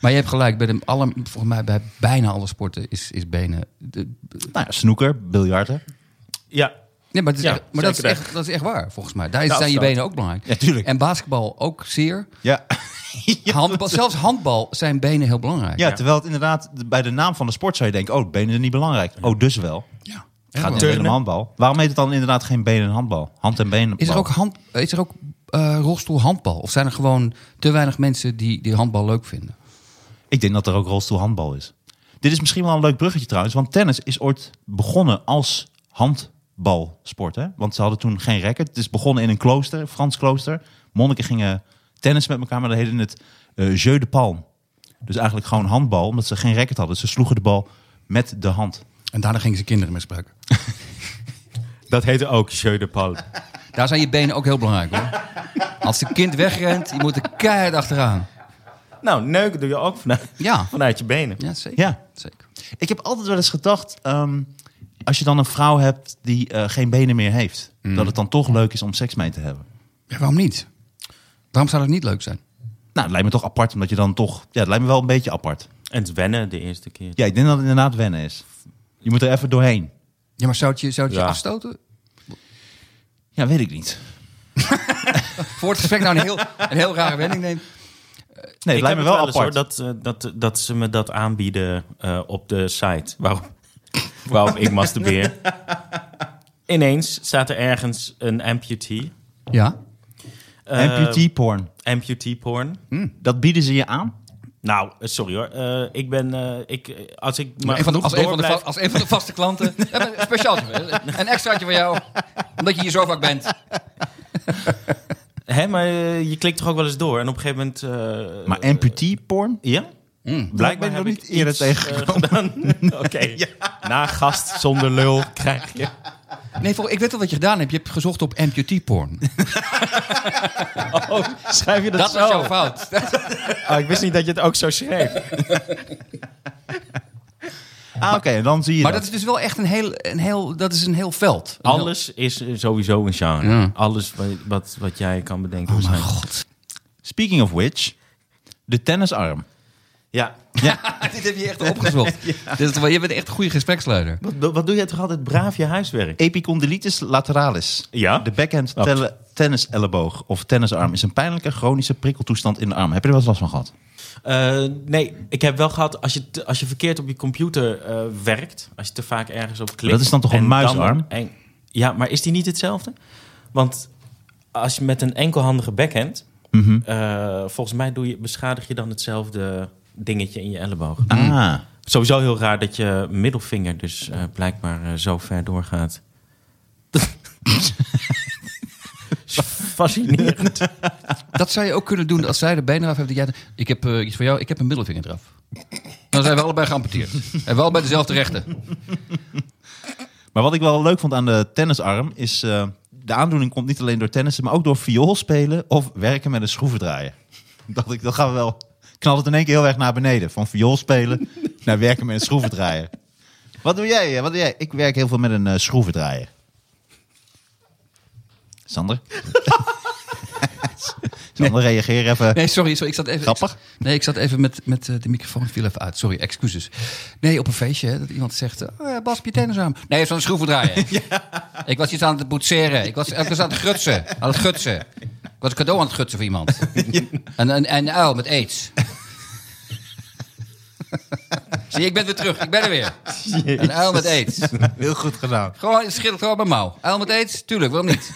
Maar je hebt gelijk, bij de alle, volgens mij bij bijna alle sporten is, is benen. de-
Nou ja, snoeker, biljarten.
Ja,
nee, maar het is
Ja,
echt- maar dat, is
zeker
echt, dat is echt waar, volgens mij. Daar is-
Ja,
zijn je
absoluut.
benen ook belangrijk.
Ja, tuurlijk.
En basketbal ook zeer.
Ja.
Handbal, zelfs handbal zijn benen heel belangrijk.
ja, terwijl het inderdaad bij de naam van de sport zou je denken... oh, benen is niet belangrijk. Oh, dus wel.
Ja.
Gaat het
Turnen.
benen om handbal? Waarom heet het dan inderdaad geen benen en handbal? Hand en benen.
Is er ook, hand, is er ook eh, rolstoel handbal? Of zijn er gewoon te weinig mensen die, die handbal leuk vinden?
Ik denk dat er ook rolstoelhandbal is. Dit is misschien wel een leuk bruggetje trouwens. Want tennis is ooit begonnen als handbalsport. Hè? Want ze hadden toen geen racket. Het is begonnen in een klooster, een Frans klooster. Monniken gingen tennis met elkaar, maar dat heette het eh, jeu de palme. Dus eigenlijk gewoon handbal, omdat ze geen racket hadden. Ze sloegen de bal met de hand.
En daarna gingen ze kinderen misbruiken.
dat heette ook Jeu de Paul.
Daar zijn je benen ook heel belangrijk hoor. Als een kind wegrent, je moet er keihard achteraan.
Nou, neuken doe je ook vanuit,
Ja,
vanuit je benen.
ja zeker.
Ja,
zeker.
Ik heb altijd wel eens gedacht, ehm, als je dan een vrouw hebt die eh, geen benen meer heeft, dat het dan toch leuk is om seks mee te hebben.
Ja, waarom niet? Waarom zou dat niet leuk zijn?
Nou, het lijkt me toch apart, omdat je dan toch... Ja, het lijkt me wel een beetje apart.
En het wennen de eerste keer.
Ja, ik denk dat het inderdaad wennen is. Je moet er even doorheen.
Ja, maar zou het je, zou het je
Ja.
afstoten?
Ja, weet ik niet.
Voor het gesprek nou een heel, een heel rare wending neemt.
Nee, het
ik
lijkt
heb
me
het
wel,
wel eens hoor,
apart.
dat, eh, dat, dat ze me dat aanbieden eh, op de site. Waarom, waarom ik masturbeer. Ineens staat er ergens een amputee.
Ja?
eh,
Amputee porn.
Amputee porn.
Dat bieden ze je aan?
Nou, eh, sorry hoor. Eh, ik ben... eh, ik, eh, als ik maar
Een van de-
genoeg
als, een van de, va-
doorblijf-
als een van de vaste klanten. We hebben een speciaaltje. voor je. Een extraatje voor jou. Omdat je hier zo vaak bent.
Hè, maar eh, je klikt toch ook wel eens door. En op een gegeven moment... eh,
Maar amputee porn?
Ja?
Blijkbaar heb
ben ik
ik
nog
niet
niet
eerder
iets, eh,
tegengekomen.
Oké, na gast zonder lul krijg je...
Nee, voor, ik weet wel wat je gedaan hebt. Je hebt gezocht op amputee porn.
Oh, schrijf je dat,
Dat
zo?
was jouw fout.
Oh, ik wist niet dat je het ook zo schreef.
Ah, oké, en dan zie je
Maar
dat.
dat is dus wel echt een heel, een heel, dat is een heel veld. Een heel-
Alles is eh, sowieso een genre.
Ja.
Alles wat, wat, wat jij kan bedenken.
Oh mijn
waarschijnlijk.
god.
Speaking of which, de tennisarm.
Ja.
Dit heb je echt opgezocht. Dit is wel- je bent echt een goede gespreksleider.
Wat, do- wat doe jij toch altijd braaf je huiswerk?
Epicondylitis lateralis.
Ja.
De backhand
Oh.
telle, tennis elleboog of tennisarm is een pijnlijke chronische prikkeltoestand in de arm. Heb je er wel eens last van gehad?
Eh, nee, ik heb wel gehad, als je, te- als je verkeerd op je computer eh, werkt, als je te vaak ergens op klikt.
dat is dan toch een
en
muisarm?
en- ja, maar is die niet hetzelfde? Want als je met een enkelhandige backhand,
Mhm.
eh, volgens mij doe je, beschadig je dan hetzelfde dingetje in je elleboog.
Ah.
Sowieso heel raar dat je middelvinger dus eh, blijkbaar eh, zo ver doorgaat. Is Fascinerend.
Dat zou je ook kunnen doen als zij de benen eraf hebben. dat jij de- ik heb eh, iets voor jou, ik heb een middelvinger eraf. Dan zijn we allebei geamputeerd. En wel bij dezelfde rechten.
Maar wat ik wel leuk vond aan de tennisarm is... eh, de aandoening komt niet alleen door tennissen, maar ook door viool spelen of werken met een schroevendraaier. Dat, ik, dat gaan we wel... Knalt het in één keer heel erg naar beneden. Van viool spelen naar werken met een schroevendraaier. Wat doe jij? eh, Wat doe jij? Ik werk heel veel met een eh, schroevendraaier. Sander? Sander, reageer even.
Nee, sorry, sorry, ik zat even.
eh, Grappig.
ik zat- nee, ik zat even met, met eh, de microfoon viel even uit. Sorry, excuses. Nee, op een feestje hè, dat iemand zegt: eh, oh, ja, Bas, heb je tennis aan? Nee, heeft aan de schroevendraaier. Ik was iets aan het boetseren. Ik was, ik was aan het grutsen. Aan het gutsen. Ik was een cadeau aan het gutsen voor iemand. En en en uil met aids. Zie, je, ik ben weer terug. Ik ben er weer. Een uil met aids.
Heel goed gedaan.
Gewoon, het scheelt gewoon bij mouw. Uil met aids? Tuurlijk, waarom niet?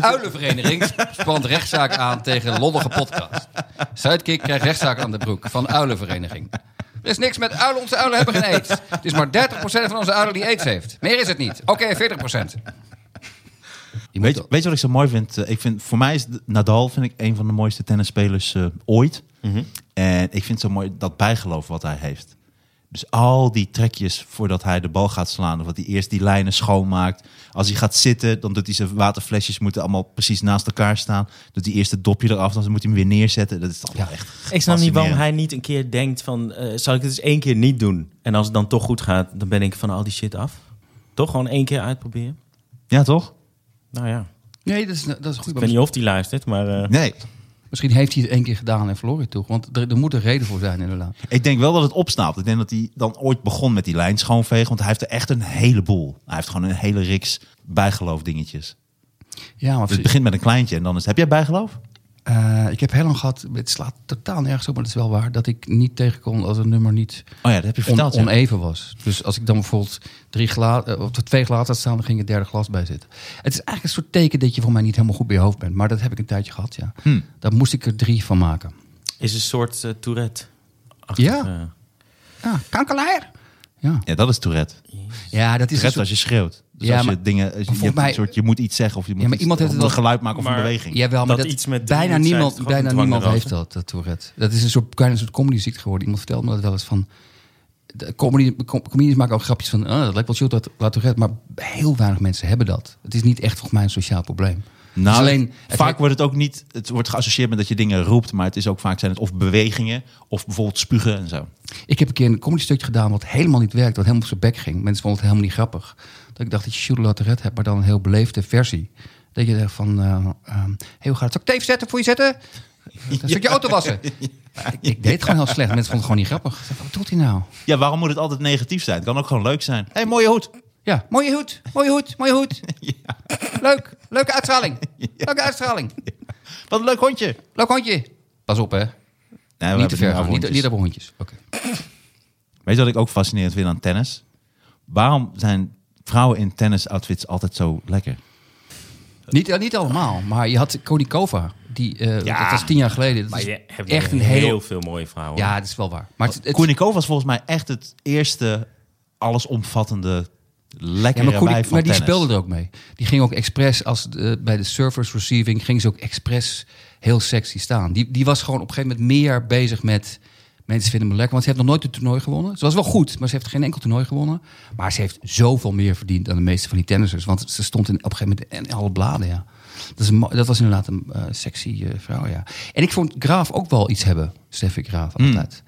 Uilenvereniging spant rechtszaak aan tegen lollige podcast. Zuidkik krijgt rechtszaak aan de broek van Uilenvereniging. Er is niks met uilen. Onze uilen hebben geen aids. Het is maar 30% van onze uilen die aids heeft. Meer is het niet. Oké, 40%. Je
Weet,
moet
je- weet je wat ik zo mooi vind? Eh, Ik vind voor mij is de- Nadal vind ik een van de mooiste tennisspelers eh, ooit. En ik vind zo mooi dat bijgeloof wat hij heeft. Dus al die trekjes voordat hij de bal gaat slaan. Of dat hij eerst die lijnen schoonmaakt. Als hij gaat zitten, dan doet hij zijn waterflesjes moeten allemaal precies naast elkaar staan. Doet hij eerst het dopje eraf, dan moet hij hem weer neerzetten. Dat is toch wel echt
Ik snap niet waarom
fascinerend.
hij niet een keer denkt van... eh, zal ik het eens één keer niet doen? En als het dan toch goed gaat, dan ben ik van al die shit af. Toch gewoon één keer uitproberen?
Ja, toch?
Nou ja,
Nee, dat is, dat is goed.
ik weet niet of die luistert, maar... eh,
Nee.
Misschien heeft hij het één keer gedaan en verloor hij toch. Want er, er moet een reden voor zijn inderdaad.
Ik denk wel dat het opsnaapt. Ik denk dat hij dan ooit begon met die lijn schoonvegen. Want hij heeft er echt een heleboel. Hij heeft gewoon een hele riks bijgeloof dingetjes.
Ja, maar
Dus het begint met een kleintje en dan is het, heb jij bijgeloof?
eh, ik heb heel lang gehad, het slaat totaal nergens op, maar dat is wel waar, dat ik niet tegenkom als een nummer niet
Oh ja, dat heb je
on-
verteld. ja.
oneven was. Dus als ik dan bijvoorbeeld drie gla eh, of twee glazen had staan, dan ging het derde glas bij zitten. Het is eigenlijk een soort teken dat je voor mij niet helemaal goed bij je hoofd bent. Maar dat heb ik een tijdje gehad, ja.
Hm.
Daar moest ik er drie van maken.
is een soort eh, Tourette. eh,
Ja. Ja,
Kankelaar.
ja.
ja, dat is Tourette.
ja dat is een
Tourette
soort...
als je schreeuwt. Dus
Ja,
als je
maar-
dingen, als je, je,
volgens
hebt een
mij-
soort, je moet iets zeggen of je moet
maar
iets-
iemand heeft het
of een
wel-
geluid maken of
Maar-
een beweging.
Jawel, maar
Dat
dat,
iets met drie
bijna
moet zijn,
niemand,
toch ook
bijna
een dwang
niemand
erover?
heeft dat, dat Tourette. Dat is een soort, bijna een soort comedyziekte geworden. Iemand vertelde me dat wel eens van... de Comedy, com- comedians maken ook grapjes van, ah, dat lijkt wel chill dat La Tourette, maar heel weinig mensen hebben dat. Het is niet echt volgens mij een sociaal probleem. Het is
Nou,
alleen, het
vaak wordt het ook niet, het wordt geassocieerd met dat je dingen roept, maar het is ook vaak zijn het of bewegingen of bijvoorbeeld spugen en zo.
Ik heb een keer een comedy stukje gedaan wat helemaal niet werkte, wat helemaal op zijn bek ging. Mensen vonden het helemaal niet grappig. Dat ik dacht dat je Jules Lateret hebt, maar dan een heel beleefde versie. Dat je dacht van, eh ehm, hey, hoe gaat het? Zal ik het even zetten voor je zetten? Een stukje auto wassen. Ik, ik deed het gewoon heel slecht. Mensen vonden het gewoon niet grappig. Ik dacht, Wat doet hij nou?
Ja, waarom moet het altijd negatief zijn? Het kan ook gewoon leuk zijn. Hé, hey, mooie hoed.
Ja, mooie hoed, mooie hoed, mooie hoed. Leuk, leuke uitstraling. Leuke uitstraling.
Wat een leuk hondje.
Leuk hondje. Pas op, hè.
Nee, we
niet te
hebben
ver
het
gaan.
over
Niet,
hondjes.
niet over hondjes. Oké.
Weet je wat ik ook fascinerend vind aan tennis? Waarom zijn vrouwen in tennisoutfits altijd zo lekker?
Niet, eh, niet allemaal, maar je had Konikova. Die, eh,
Ja.
dat was tien jaar geleden. Dat
Maar
is
je hebt
Ah, echt een
heel,
heel...
veel mooie vrouwen.
Ja, dat is wel waar. Maar het, het-
Koenikov was volgens mij echt het eerste allesomvattende
ja,
lekkere
maar, Koenig-
wijf van
maar die
tennis.
speelde er ook mee. Die ging ook expres, als de- bij de servers receiving, ging ze ook expres heel sexy staan. Die, die was gewoon op een gegeven moment meer bezig met Mensen vinden me lekker, want ze heeft nog nooit een toernooi gewonnen. Ze was wel goed, maar ze heeft geen enkel toernooi gewonnen. Maar ze heeft zoveel meer verdiend dan de meeste van die tennissers. Want ze stond in, op een gegeven moment in alle bladen, ja. Dat, is een mo- dat was inderdaad een eh, sexy eh, vrouw, ja. En ik vond Graaf ook wel iets hebben. Steffi Graaf,
Hmm.
altijd.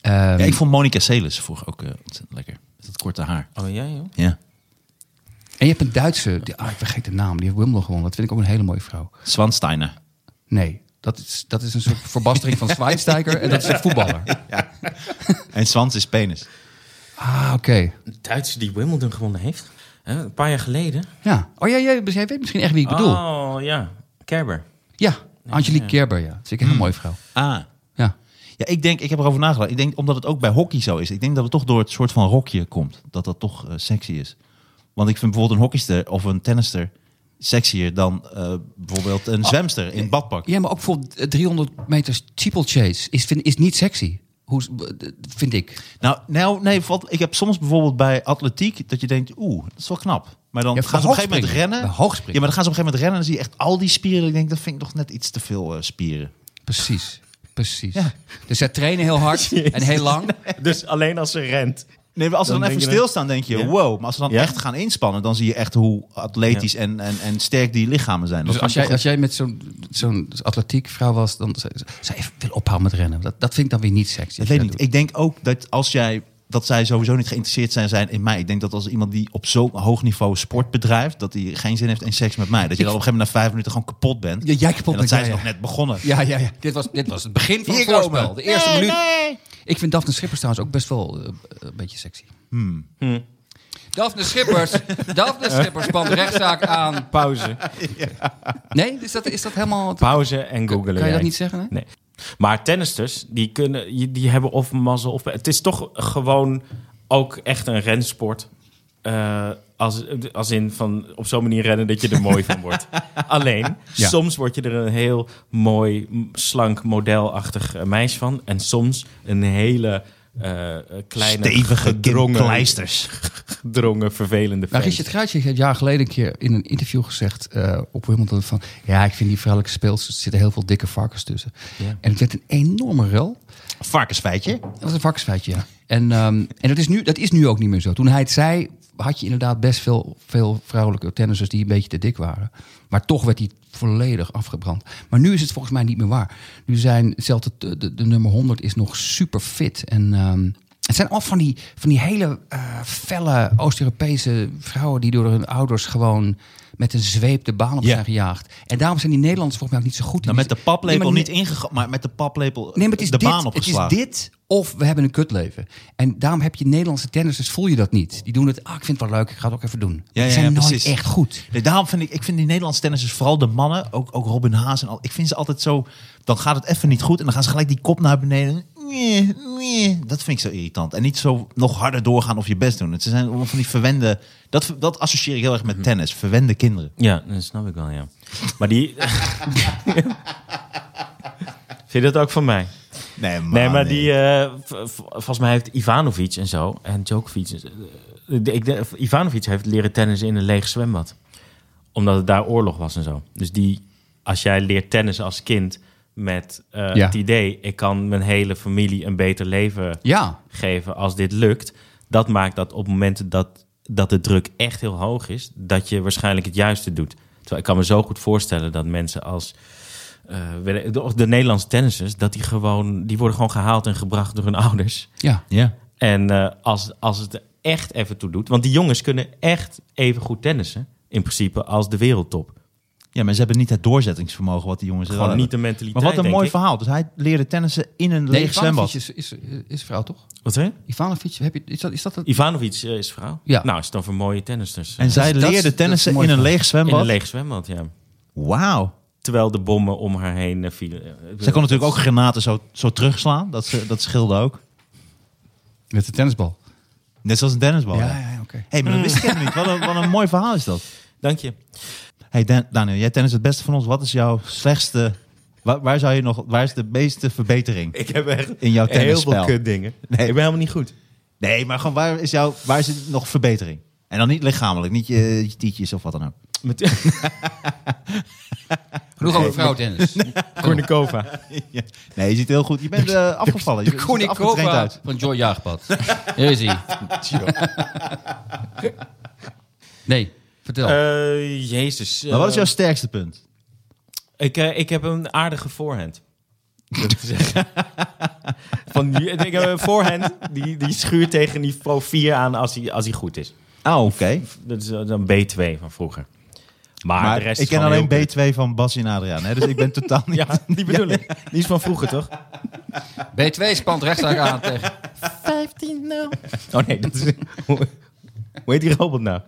Ehm,
Ja, ik vond Monica Seles vroeger ook eh, ontzettend lekker. Met dat korte haar.
Oh ja, joh.
Ja.
En je hebt een Duitse, die, ah, ik vergeet de naam, die heeft Wimbledon gewonnen. Dat vind ik ook een hele mooie vrouw.
Swansteiner.
Nee, dat is, dat is een soort verbastering van Schweinsteiger en dat is een voetballer.
En Swans is penis.
Ah, oké.
De Duitse die Wimbledon gewonnen heeft. Hè, een paar jaar geleden.
Ja. Oh ja, jij, jij weet misschien echt wie ik bedoel.
Oh ja, Kerber.
Ja, Angelique Kerber, ja. Dat vind ik een hele mooie vrouw.
Ah.
Ja.
Ja, ik denk, ik heb erover nagedacht. Ik denk, omdat het ook bij hockey zo is. Ik denk dat het toch door het soort van rokje komt. Dat dat toch eh, sexy is. Want ik vind bijvoorbeeld een hockeyster of een tennister sexier dan eh, bijvoorbeeld
Ah.
een zwemster in het badpak.
Ja, maar ook bijvoorbeeld eh, 300 meters steeplechase is, vind, is niet sexy. Hoe, eh, vind ik.
Nou, nou, nee, valt, ik heb soms bijvoorbeeld bij atletiek dat je denkt, oeh, dat is wel knap. Maar dan
Ja,
gaan ze op een gegeven moment
hoogspringen.
rennen.
Bij hoogspringen.
Ja, maar dan gaan ze op een gegeven moment rennen en dan zie je echt al die spieren. Ik denk, dat vind ik toch net iets te veel eh, spieren.
Precies. Precies.
Ja.
Dus zij trainen heel hard en heel lang.
Dus alleen als ze rent.
Nee, maar als ze
Dan
dan,
denk
even
je dan-
stilstaan, denk je,
Ja.
wow. Maar als ze dan
Ja.
echt gaan inspannen, dan zie je echt hoe atletisch en, en, en sterk die lichamen zijn.
Dus
Dat
als
vind
jij,
ik
als
toch
jij met zo'n zo'n atletiek vrouw was, dan zou zou je even willen ophouden met rennen. Dat, dat vind ik dan weer niet
goed.
sexy. als
Ik weet
jij
niet. Ik denk ook dat als jij dat zij sowieso niet geïnteresseerd zijn, zijn in mij. Ik denk dat als iemand die op zo'n hoog niveau sport bedrijft, dat hij geen zin heeft in seks met mij. Dat je dan op een gegeven moment na vijf minuten gewoon kapot bent.
Ja, jij kapot
en dat
bent,
zijn
ja,
ze
ja.
nog net begonnen.
Ja, ja, ja. Dit was, dit was het begin van het
Hier komen.
voorspel. De eerste minuut. Ik vind Daphne Schippers trouwens ook best wel eh, een beetje sexy. Daphne Schippers. Daphne Schippers spant rechtszaak aan.
Pauze.
Nee, is dat, is dat helemaal...
Pauze en googelen.
kan je dat
jij.
niet zeggen, hè?
Nee. Maar tennisters, die, kunnen, je- die hebben of mazzel of... Het is toch gewoon ook echt een rensport. Eh, als, als in van op zo'n manier rennen dat je er mooi van wordt. Alleen,
Ja.
soms word je er een heel mooi, m- slank, modelachtig eh, meisje van. En soms een hele eh, kleine,
Stevige
gedrongen,
kleisters.
gedrongen, vervelende
Nou,
vent.
Richard Kruijtje heeft jaar geleden een keer in een interview gezegd eh, op Wimbledon van... Ja, ik vind die vrouwelijke speelsters, er zitten heel veel dikke varkens tussen.
Ja.
En het werd een enorme rel.
Varkensfeitje.
Dat is een varkensfeitje, ja. En, ehm, en dat, is nu, dat is nu ook niet meer zo. Toen hij het zei, had je inderdaad best veel, veel vrouwelijke tennissers die een beetje te dik waren. Maar toch werd hij volledig afgebrand. Maar nu is het volgens mij niet meer waar. Nu zijn zelfs de, de, de nummer 100 is nog super fit. En ehm, het zijn al van die, van die hele eh, felle Oost-Europese vrouwen die door hun ouders gewoon met een zweep de baan op
Ja.
zijn gejaagd. En daarom zijn die Nederlanders volgens mij ook niet zo goed. in.
Nou, met de paplepel
Nee, maar-
niet ingegaan, maar met de paplepel
Nee, maar het is,
de
dit,
baan
het
opgeslagen.
is dit of we hebben een kutleven. En daarom heb je Nederlandse tennissers, voel je dat niet. Die doen het, ah, ik vind het wel leuk, ik ga het ook even doen.
Ja,
Die
ja,
zijn
ja,
nooit
precies.
echt goed.
Nee, daarom vind ik, ik vind die Nederlandse tennissers, vooral de mannen, ook, ook Robin Haas en al, ik vind ze altijd zo, dan gaat het even niet goed en dan gaan ze gelijk die kop naar beneden. Nee, nee. Dat vind ik zo irritant. En niet zo nog harder doorgaan of je best doen. Het zijn allemaal van die verwende, dat, dat associeer ik heel erg met tennis, verwende kinderen.
Ja, dat snap ik wel, ja. Maar die... Vind je dat ook van mij?
Nee, maar,
nee, maar die... eh, v- v- volgens mij heeft Ivanovic en zo... En Djokovic... en zo, eh, de- ik, denk- Ivanovic heeft leren tennissen in een leeg zwembad. Omdat het daar oorlog was en zo. Dus die... Als jij leert tennissen als kind... Met eh,
Ja.
het idee... Ik kan mijn hele familie een beter leven
Ja,
geven als dit lukt. Dat maakt dat op momenten dat, dat de druk echt heel hoog is, dat je waarschijnlijk het juiste doet. Terwijl ik kan me zo goed voorstellen dat mensen als eh, weet ik- de, de Nederlandse tennissers, dat die gewoon, die worden gewoon gehaald en gebracht door hun ouders.
ja.
Ja.
En eh, als, als het er echt even toe doet, want die jongens kunnen echt even goed tennissen, in principe, als de wereldtop.
ja, maar ze hebben niet het doorzettingsvermogen wat die jongens wel
Gewoon
hebben.
niet de mentaliteit.
Maar wat een
denk
mooi
ik.
verhaal. Dus hij leerde tennissen in een
Nee,
leeg zwembad.
is, is, is vrouw, toch?
Wat zei je?
Ivanovic, heb je, is dat, is dat het?
Ivanovic eh, is vrouw.
Ja.
Nou, is het dan voor mooie tennisters.
En zij
dat is- dat
leerde
is een
tennissen
mooi
in een
verhaal.
leeg
in een
zwembad.
leeg zwembad, ja.
Wauw.
Terwijl de bommen om haar heen eh, vielen. Eh,
Zij kon natuurlijk ook granaten zo, zo terugslaan. Dat, ze- dat scheelde ook.
Met de tennisbal.
Net zoals een tennisbal.
Ja,
hè?
ja, ja, oké.
Hé, maar dat wist ik helemaal niet. Wat een, wat een mooi verhaal is dat.
Dank je.
hey Dan- Daniel, jij tennis het beste van ons. Wat is jouw slechtste... Waar, waar, zou je nog, waar is de meeste verbetering?
Ik heb echt
In jouw
heel veel
tennisspel.
kutdingen. Ik ben helemaal niet goed.
Nee, maar gewoon waar is, jouw, waar is het nog verbetering? En dan niet lichamelijk, niet je, je tietjes of wat dan ook.
Met...
Genoeg over vrouwentennis.
Kornikova.
Nee, je ziet heel goed. Je bent eh, afgevallen.
De
Je ziet er afgetraind
Konikova
uit.
van Joy Jaagpad. Hier is hij. Nee, vertel.
Eh, jezus.
Maar wat is
eh,
jouw sterkste punt?
Ik, eh, ik heb een aardige voorhand. Dat te zeggen. Van, die- ik heb een voorhand die, die schuurt tegen niveau 4 aan als hij als hij goed is.
Ah, oké.
Dat is eh, dan B2 van vroeger. Maar,
Maar
de rest
ik
is
ken
gewoon
alleen
heel
B2 van Bas en Adriaan. Hè? Dus ik ben totaal
goed.
niet...
Ja, die bedoel ik. Die is van vroeger, toch?
B2 spant rechtszaak aan tegen...
15 Oh nee, dat is... Hoe heet die robot nou?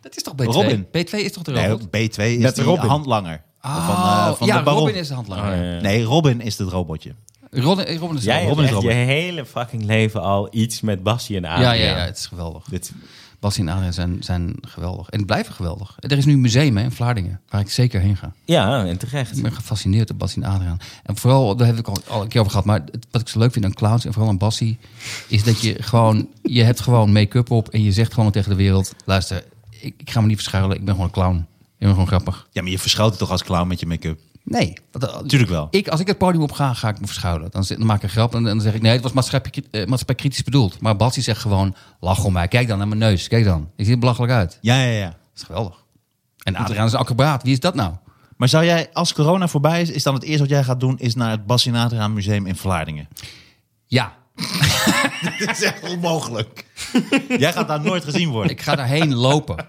Dat is toch B2?
Robin.
B2 is toch de
Nee,
robot?
B2 is
Net
die
Robin.
handlanger. van, eh, van
Oh, ja,
de baron. Ah,
Robin is de handlanger.
Nee, Robin is het robotje.
Robin, eh, Robin is de
Jij
handlanger.
hebt
Robin is
echt je
robot.
hele fucking leven al iets met Bassie en Adriaan.
Ja, ja, ja, het is geweldig.
Dit,
Bas en Adriaan zijn, zijn geweldig. En blijven geweldig. Er is nu een museum hè, in Vlaardingen, waar ik zeker heen ga.
ja, en terecht.
Ik ben gefascineerd door Bassie en Adriaan. En vooral, daar heb ik al, al een keer over gehad, maar het- wat ik zo leuk vind aan clowns en vooral aan Bassie, is dat je gewoon, je hebt gewoon make-up op en je zegt gewoon tegen de wereld, luister, ik, ik ga me niet verschuilen, ik ben gewoon een clown. Ik ben gewoon grappig.
Ja, maar je verschuilt het toch als clown met je make-up?
Nee. want-
Tuurlijk wel.
Ik, als ik het podium op ga, ga ik me verschuilen. Dan, zit- dan maak ik een grap en, dan zeg ik... nee, het was maatschappij, eh, maatschappijkritisch bedoeld. Maar Bassie zegt gewoon... lach om mij, kijk dan naar mijn neus, kijk dan. Ik zie er belachelijk uit.
Ja, ja, ja.
Dat is geweldig. En Adriaan is een acrobaat. Wie is dat nou?
Maar zou jij, als corona voorbij is, is dan het eerste wat jij gaat doen... is naar het Bas en Adriaan Museum in Vlaardingen?
Ja,
Dit is echt onmogelijk. jij gaat daar nooit gezien worden.
ik ga daarheen lopen. En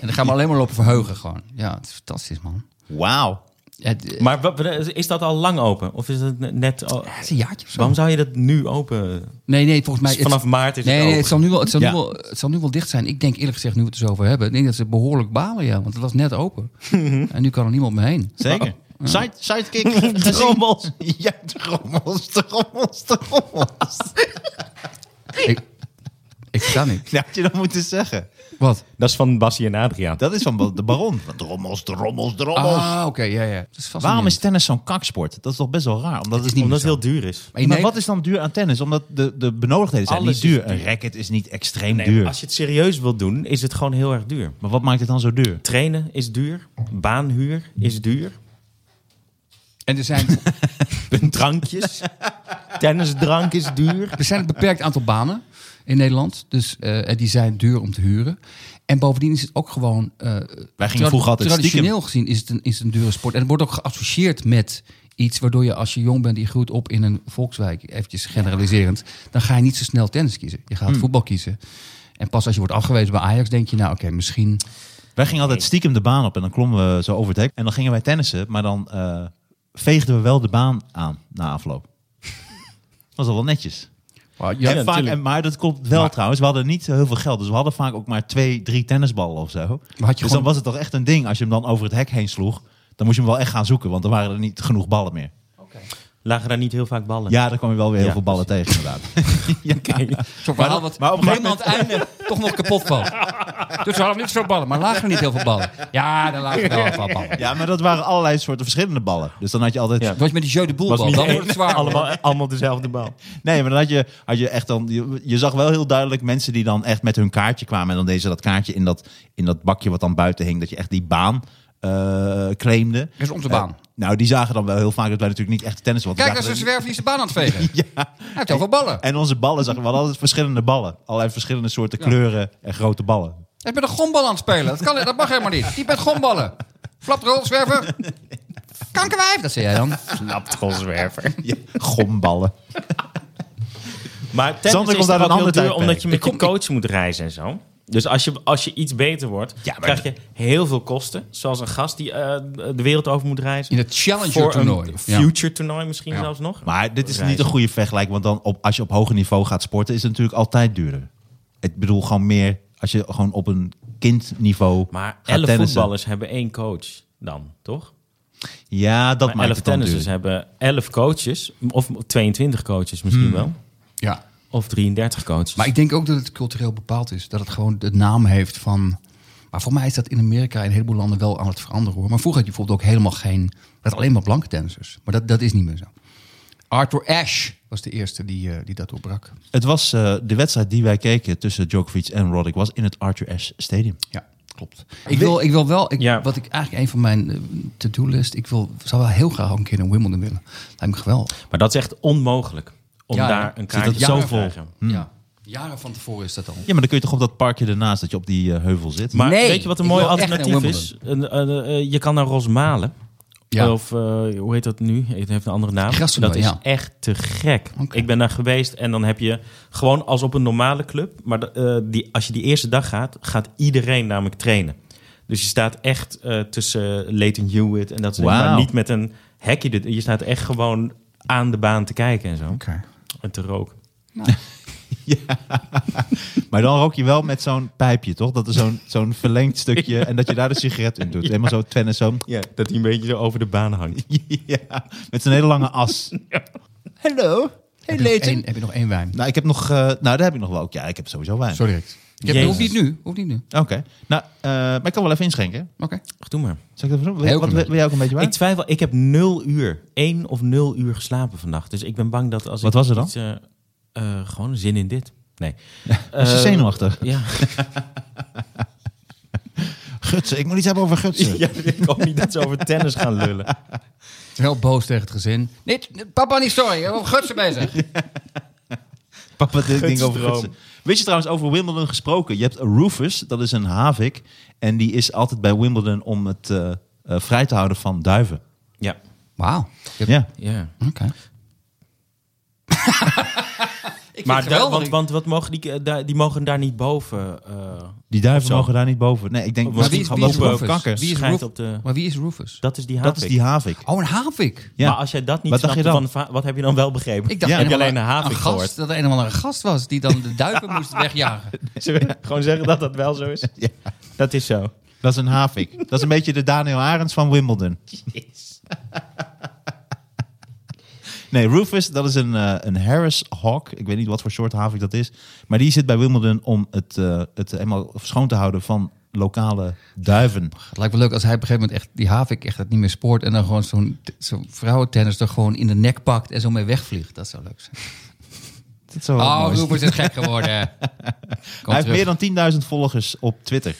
dan gaan we alleen maar lopen verheugen gewoon. Ja, het is fantastisch, man.
Wauw.
Het, eh,
Maar wat- is dat al lang open? Of is het net... al-
het is een jaartje of zo.
Waarom zou je dat nu open?
Nee, nee, volgens mij...
Vanaf maart is
nee,
het
nee,
open.
zal nu wel, het, zal
Ja.
nu wel, het zal nu wel dicht zijn. Ik denk eerlijk gezegd, nu we het er zo over hebben... ik denk dat ze behoorlijk balen, ja. Want het was net open. en nu kan er niemand meer heen.
Zeker. Side, sidekick. gezien.
Drommels.
Ja, drommels, drommels, drommels.
Ik, ik versta niet.
Dat had je dat moeten zeggen.
Wat?
Dat is van Bassie en Adriaan.
Dat is van ba- de baron. Van Drommels, drommels, drommels.
Ah, oké, ja, ja. Dat is vast
Oh. Waarom
niet-
is tennis zo'n kaksport? Dat is toch best wel raar. Omdat het,
niet
Omdat het heel duur is.
Maar, in
maar
Nederland-
wat is dan duur aan tennis? Omdat de, de benodigdheden zijn
Alles
niet
is
duur. Een racket is niet extreem duur.
Als je het serieus wilt doen, is het gewoon heel erg duur.
Maar wat maakt het dan zo duur?
Trainen is duur. Baanhuur is duur.
En er zijn,
Drankjes. Tennisdrank is duur.
er zijn een beperkt aantal banen in Nederland. Dus eh, en die zijn duur om te huren. En bovendien is het ook gewoon... eh, tradi-
vroeger altijd
Traditioneel gezien is het, een, is het een dure sport. En het wordt ook geassocieerd met iets... waardoor je als je jong bent, je groeit op in een volkswijk... eventjes generaliserend... dan ga je niet zo snel tennis kiezen. Je gaat
Hmm.
voetbal kiezen. En pas als je wordt afgewezen bij Ajax denk je... nou oké, misschien...
Wij gingen altijd stiekem de baan op en dan klommen we zo over het hek. En dan gingen wij tennissen, maar dan eh, veegden we wel de baan aan na afloop. was al wel netjes.
ja,
en vaak, en, maar dat klopt wel trouwens. We hadden niet zo heel veel geld. Dus we hadden vaak ook maar twee, drie tennisballen of zo. dus
gewoon-
dan was het toch echt een ding. Als je hem dan over het hek heen sloeg, dan moest je hem wel echt gaan zoeken. Want er waren er niet genoeg ballen meer.
Lagen daar niet heel vaak ballen.
Ja, daar kwam je wel weer heel
Ja,
veel ballen tegen inderdaad.
Zo'n verhaal wat
maar
maar
op
op
een gegeven
het einde toch nog kapot valt. Dus we hadden niet zo'n ballen, maar lagen er niet heel veel ballen. Ja, daar lagen wel wat ballen.
ja, maar dat waren allerlei soorten verschillende ballen. Dus dan had je altijd...
Ja.
Het was met die jeu de boel
Was
bal,
niet
dan
één.
wordt het zwaar.
allemaal, allemaal dezelfde bal.
Nee, maar dan had je, had je echt dan. Je, je zag wel heel duidelijk mensen die dan echt met hun kaartje kwamen. En dan deden ze dat kaartje in dat, in dat bakje wat dan buiten hing. Dat je echt die baan eh claimde.
Dat is onze baan.
Eh, nou, die zagen dan wel heel vaak dat wij natuurlijk niet echt tennis hadden.
Kijk,
We
als een
zagen
zwerver die zijn baan aan het vegen. Ja. Hij heeft heel veel ballen.
dat- En onze ballen zagen we hadden altijd verschillende ballen. Allerlei verschillende soorten kleuren en grote ballen.
Hij is met een gombal aan het spelen. Dat, kan, dat mag helemaal niet. Die bent gomballen. Flaprol, zwerver. Kankerwijf, dat zei jij dan.
Naptrolzwerver.
Ja, gomballen.
Maar tennis
Sander
is
komt uit
daar
een
ook heel
ander
duur,
tijdperk.
omdat je met je coach moet reizen en zo. Dus als je, als je iets beter wordt,
Ja, maar-
krijg je heel veel kosten. Zoals een gast die eh, de wereld over moet reizen.
In het Challenger-toernooi.
Voor een
Ja.
future toernooi misschien zelfs nog.
Maar dit is
Reizen.
niet een goede vergelijking. Want dan op, als je op hoger niveau gaat sporten, is het natuurlijk altijd duurder. Ik bedoel gewoon meer als je gewoon op een kindniveau.
Maar
gaat
elf
tennissen.
voetballers hebben één coach dan, toch?
Ja, dat
maar
maakt
elf
het dan
tennissers
duurder.
hebben elf coaches. Of 22 coaches misschien
Hmm.
wel.
Ja.
Of 33 coaches.
Maar ik denk ook dat het cultureel bepaald is. Dat het gewoon de naam heeft van... Maar voor mij is dat in Amerika en een heleboel landen wel aan het veranderen hoor. Maar vroeger had je bijvoorbeeld ook helemaal geen... Dat alleen maar blanke dansers. Maar dat, dat is niet meer zo. Arthur Ashe was de eerste die, eh, die dat doorbrak.
Het was eh, de wedstrijd die wij keken tussen Djokovic en Roddick was in het Arthur Ashe Stadium.
Ja. klopt. Ik wil, ik wil wel, ik,
Ja.
wat ik eigenlijk een van mijn eh, to-do-list, ik wil, zou wel heel graag ook een keer een Wimbledon willen. Lijkt me geweldig.
Maar dat is echt onmogelijk om
Ja, ja.
daar een
Dus
Zit
kaartje
dat
te
jaren
krijgen.
Ja. Jaren van tevoren is dat al.
Ja, maar dan kun je toch op dat parkje ernaast, dat je op die eh, heuvel zit.
Maar
Nee,
weet je wat een
ik
mooi
wil echt naar
alternatief is? Een- een- eh, je kan naar Rosmalen.
Ja.
Of eh, hoe heet dat nu? Het heeft een andere naam.
Grasmere,
dat is
ja.
echt te gek.
Oké.
Ik ben daar geweest en dan heb je gewoon als op een normale club. Maar de- eh, die, als je die eerste dag gaat, gaat iedereen namelijk trainen. Dus je staat echt eh, tussen Leighton Hewitt en dat soort dingen.
Wauw.
Maar niet met een hekje. dit- Je staat echt gewoon aan de baan te kijken en zo. En te roken.
Maar dan rook je wel met zo'n pijpje, toch? Dat is zo'n zo'n verlengd stukje en dat je daar de sigaret in doet. Helemaal zo tennis, zo.
Ja, dat hij een beetje zo over de baan hangt.
ja, met zo'n hele lange as. Hallo. Hey,
Heb je, nog
Leighton.
één, heb je nog één wijn?
Nou, ik heb nog... eh, nou, daar heb ik nog wel ook. Ja, ik heb sowieso wijn.
Sorry, Rick. Ik heb,
Jezus.
hoeft niet nu. Hoeft niet nu.
Oké. Nou, eh, maar ik kan wel even inschenken.
Oké.
Doe maar.
Zal ik dat even doen?
Heel
Wil, wat,
klein
wil wil jij ook een beetje wijn?
Ik twijfel, ik heb nul uur, één of nul uur geslapen vannacht. Dus ik ben bang dat als
Wat
ik
was er dan?
iets, eh, eh, gewoon zin in dit. Nee.
Is je
Eh,
zenuwachtig?
Ja.
Gutsen. Ik moet iets hebben over gutsen.
ja, ik hoop niet dat ze over tennis gaan lullen.
Heel boos tegen het gezin. Nee, papa niet sorry. We gutsen bezig.
Pak wat dit ding over
Gutsdroom.
gutsen. Wist je trouwens over Wimbledon gesproken? Je hebt Rufus, dat is een havik. En die is altijd bij Wimbledon om het eh, eh, vrij te houden van duiven.
Ja.
Wauw. Ik heb-
Ja.
ja.
Oké.
Maar daar-
geweldig.
want, want wat mogen die, eh, daar- die mogen daar niet boven. eh
Die duiven
Of zo.
mogen daar niet boven. Nee, ik denk...
Maar wie is-
dat
wie is
boven
Rufus?
kakken.
Wie is
schijnt
Ruf-
op de,
Maar wie is Rufus?
dat is die haat.
Dat is die havik.
Oh, een havik.
Ja.
Maar als jij dat niet
Wat dacht je
snapte, van, va- wat heb je dan wel begrepen?
Ik dacht
Ja.
een
Heb
je
of
alleen
andere-
een havik
gast,
gehoord?
Dat er een of andere gast was die dan de duiven moest wegjagen.
Gewoon zeggen dat dat wel zo is.
Ja.
Dat is zo.
Dat is een havik. Dat is een beetje de Daniel Arends van Wimbledon. Nee, Rufus, dat is een, eh, een Harris Hawk. Ik weet niet wat voor soort havik dat is. Maar die zit bij Wimbledon om het, eh, het helemaal schoon te houden van lokale duiven.
Het lijkt me leuk als hij op een gegeven moment echt die havik echt het niet meer spoort. En dan gewoon zo'n zo'n vrouwentennis er gewoon in de nek pakt en zo mee wegvliegt. Dat zou leuk zijn.
Dat zou wel
Oh,
mooi zijn.
Rufus is gek geworden. Kom
Hij heeft
terug.
meer dan 10.000 volgers op Twitter.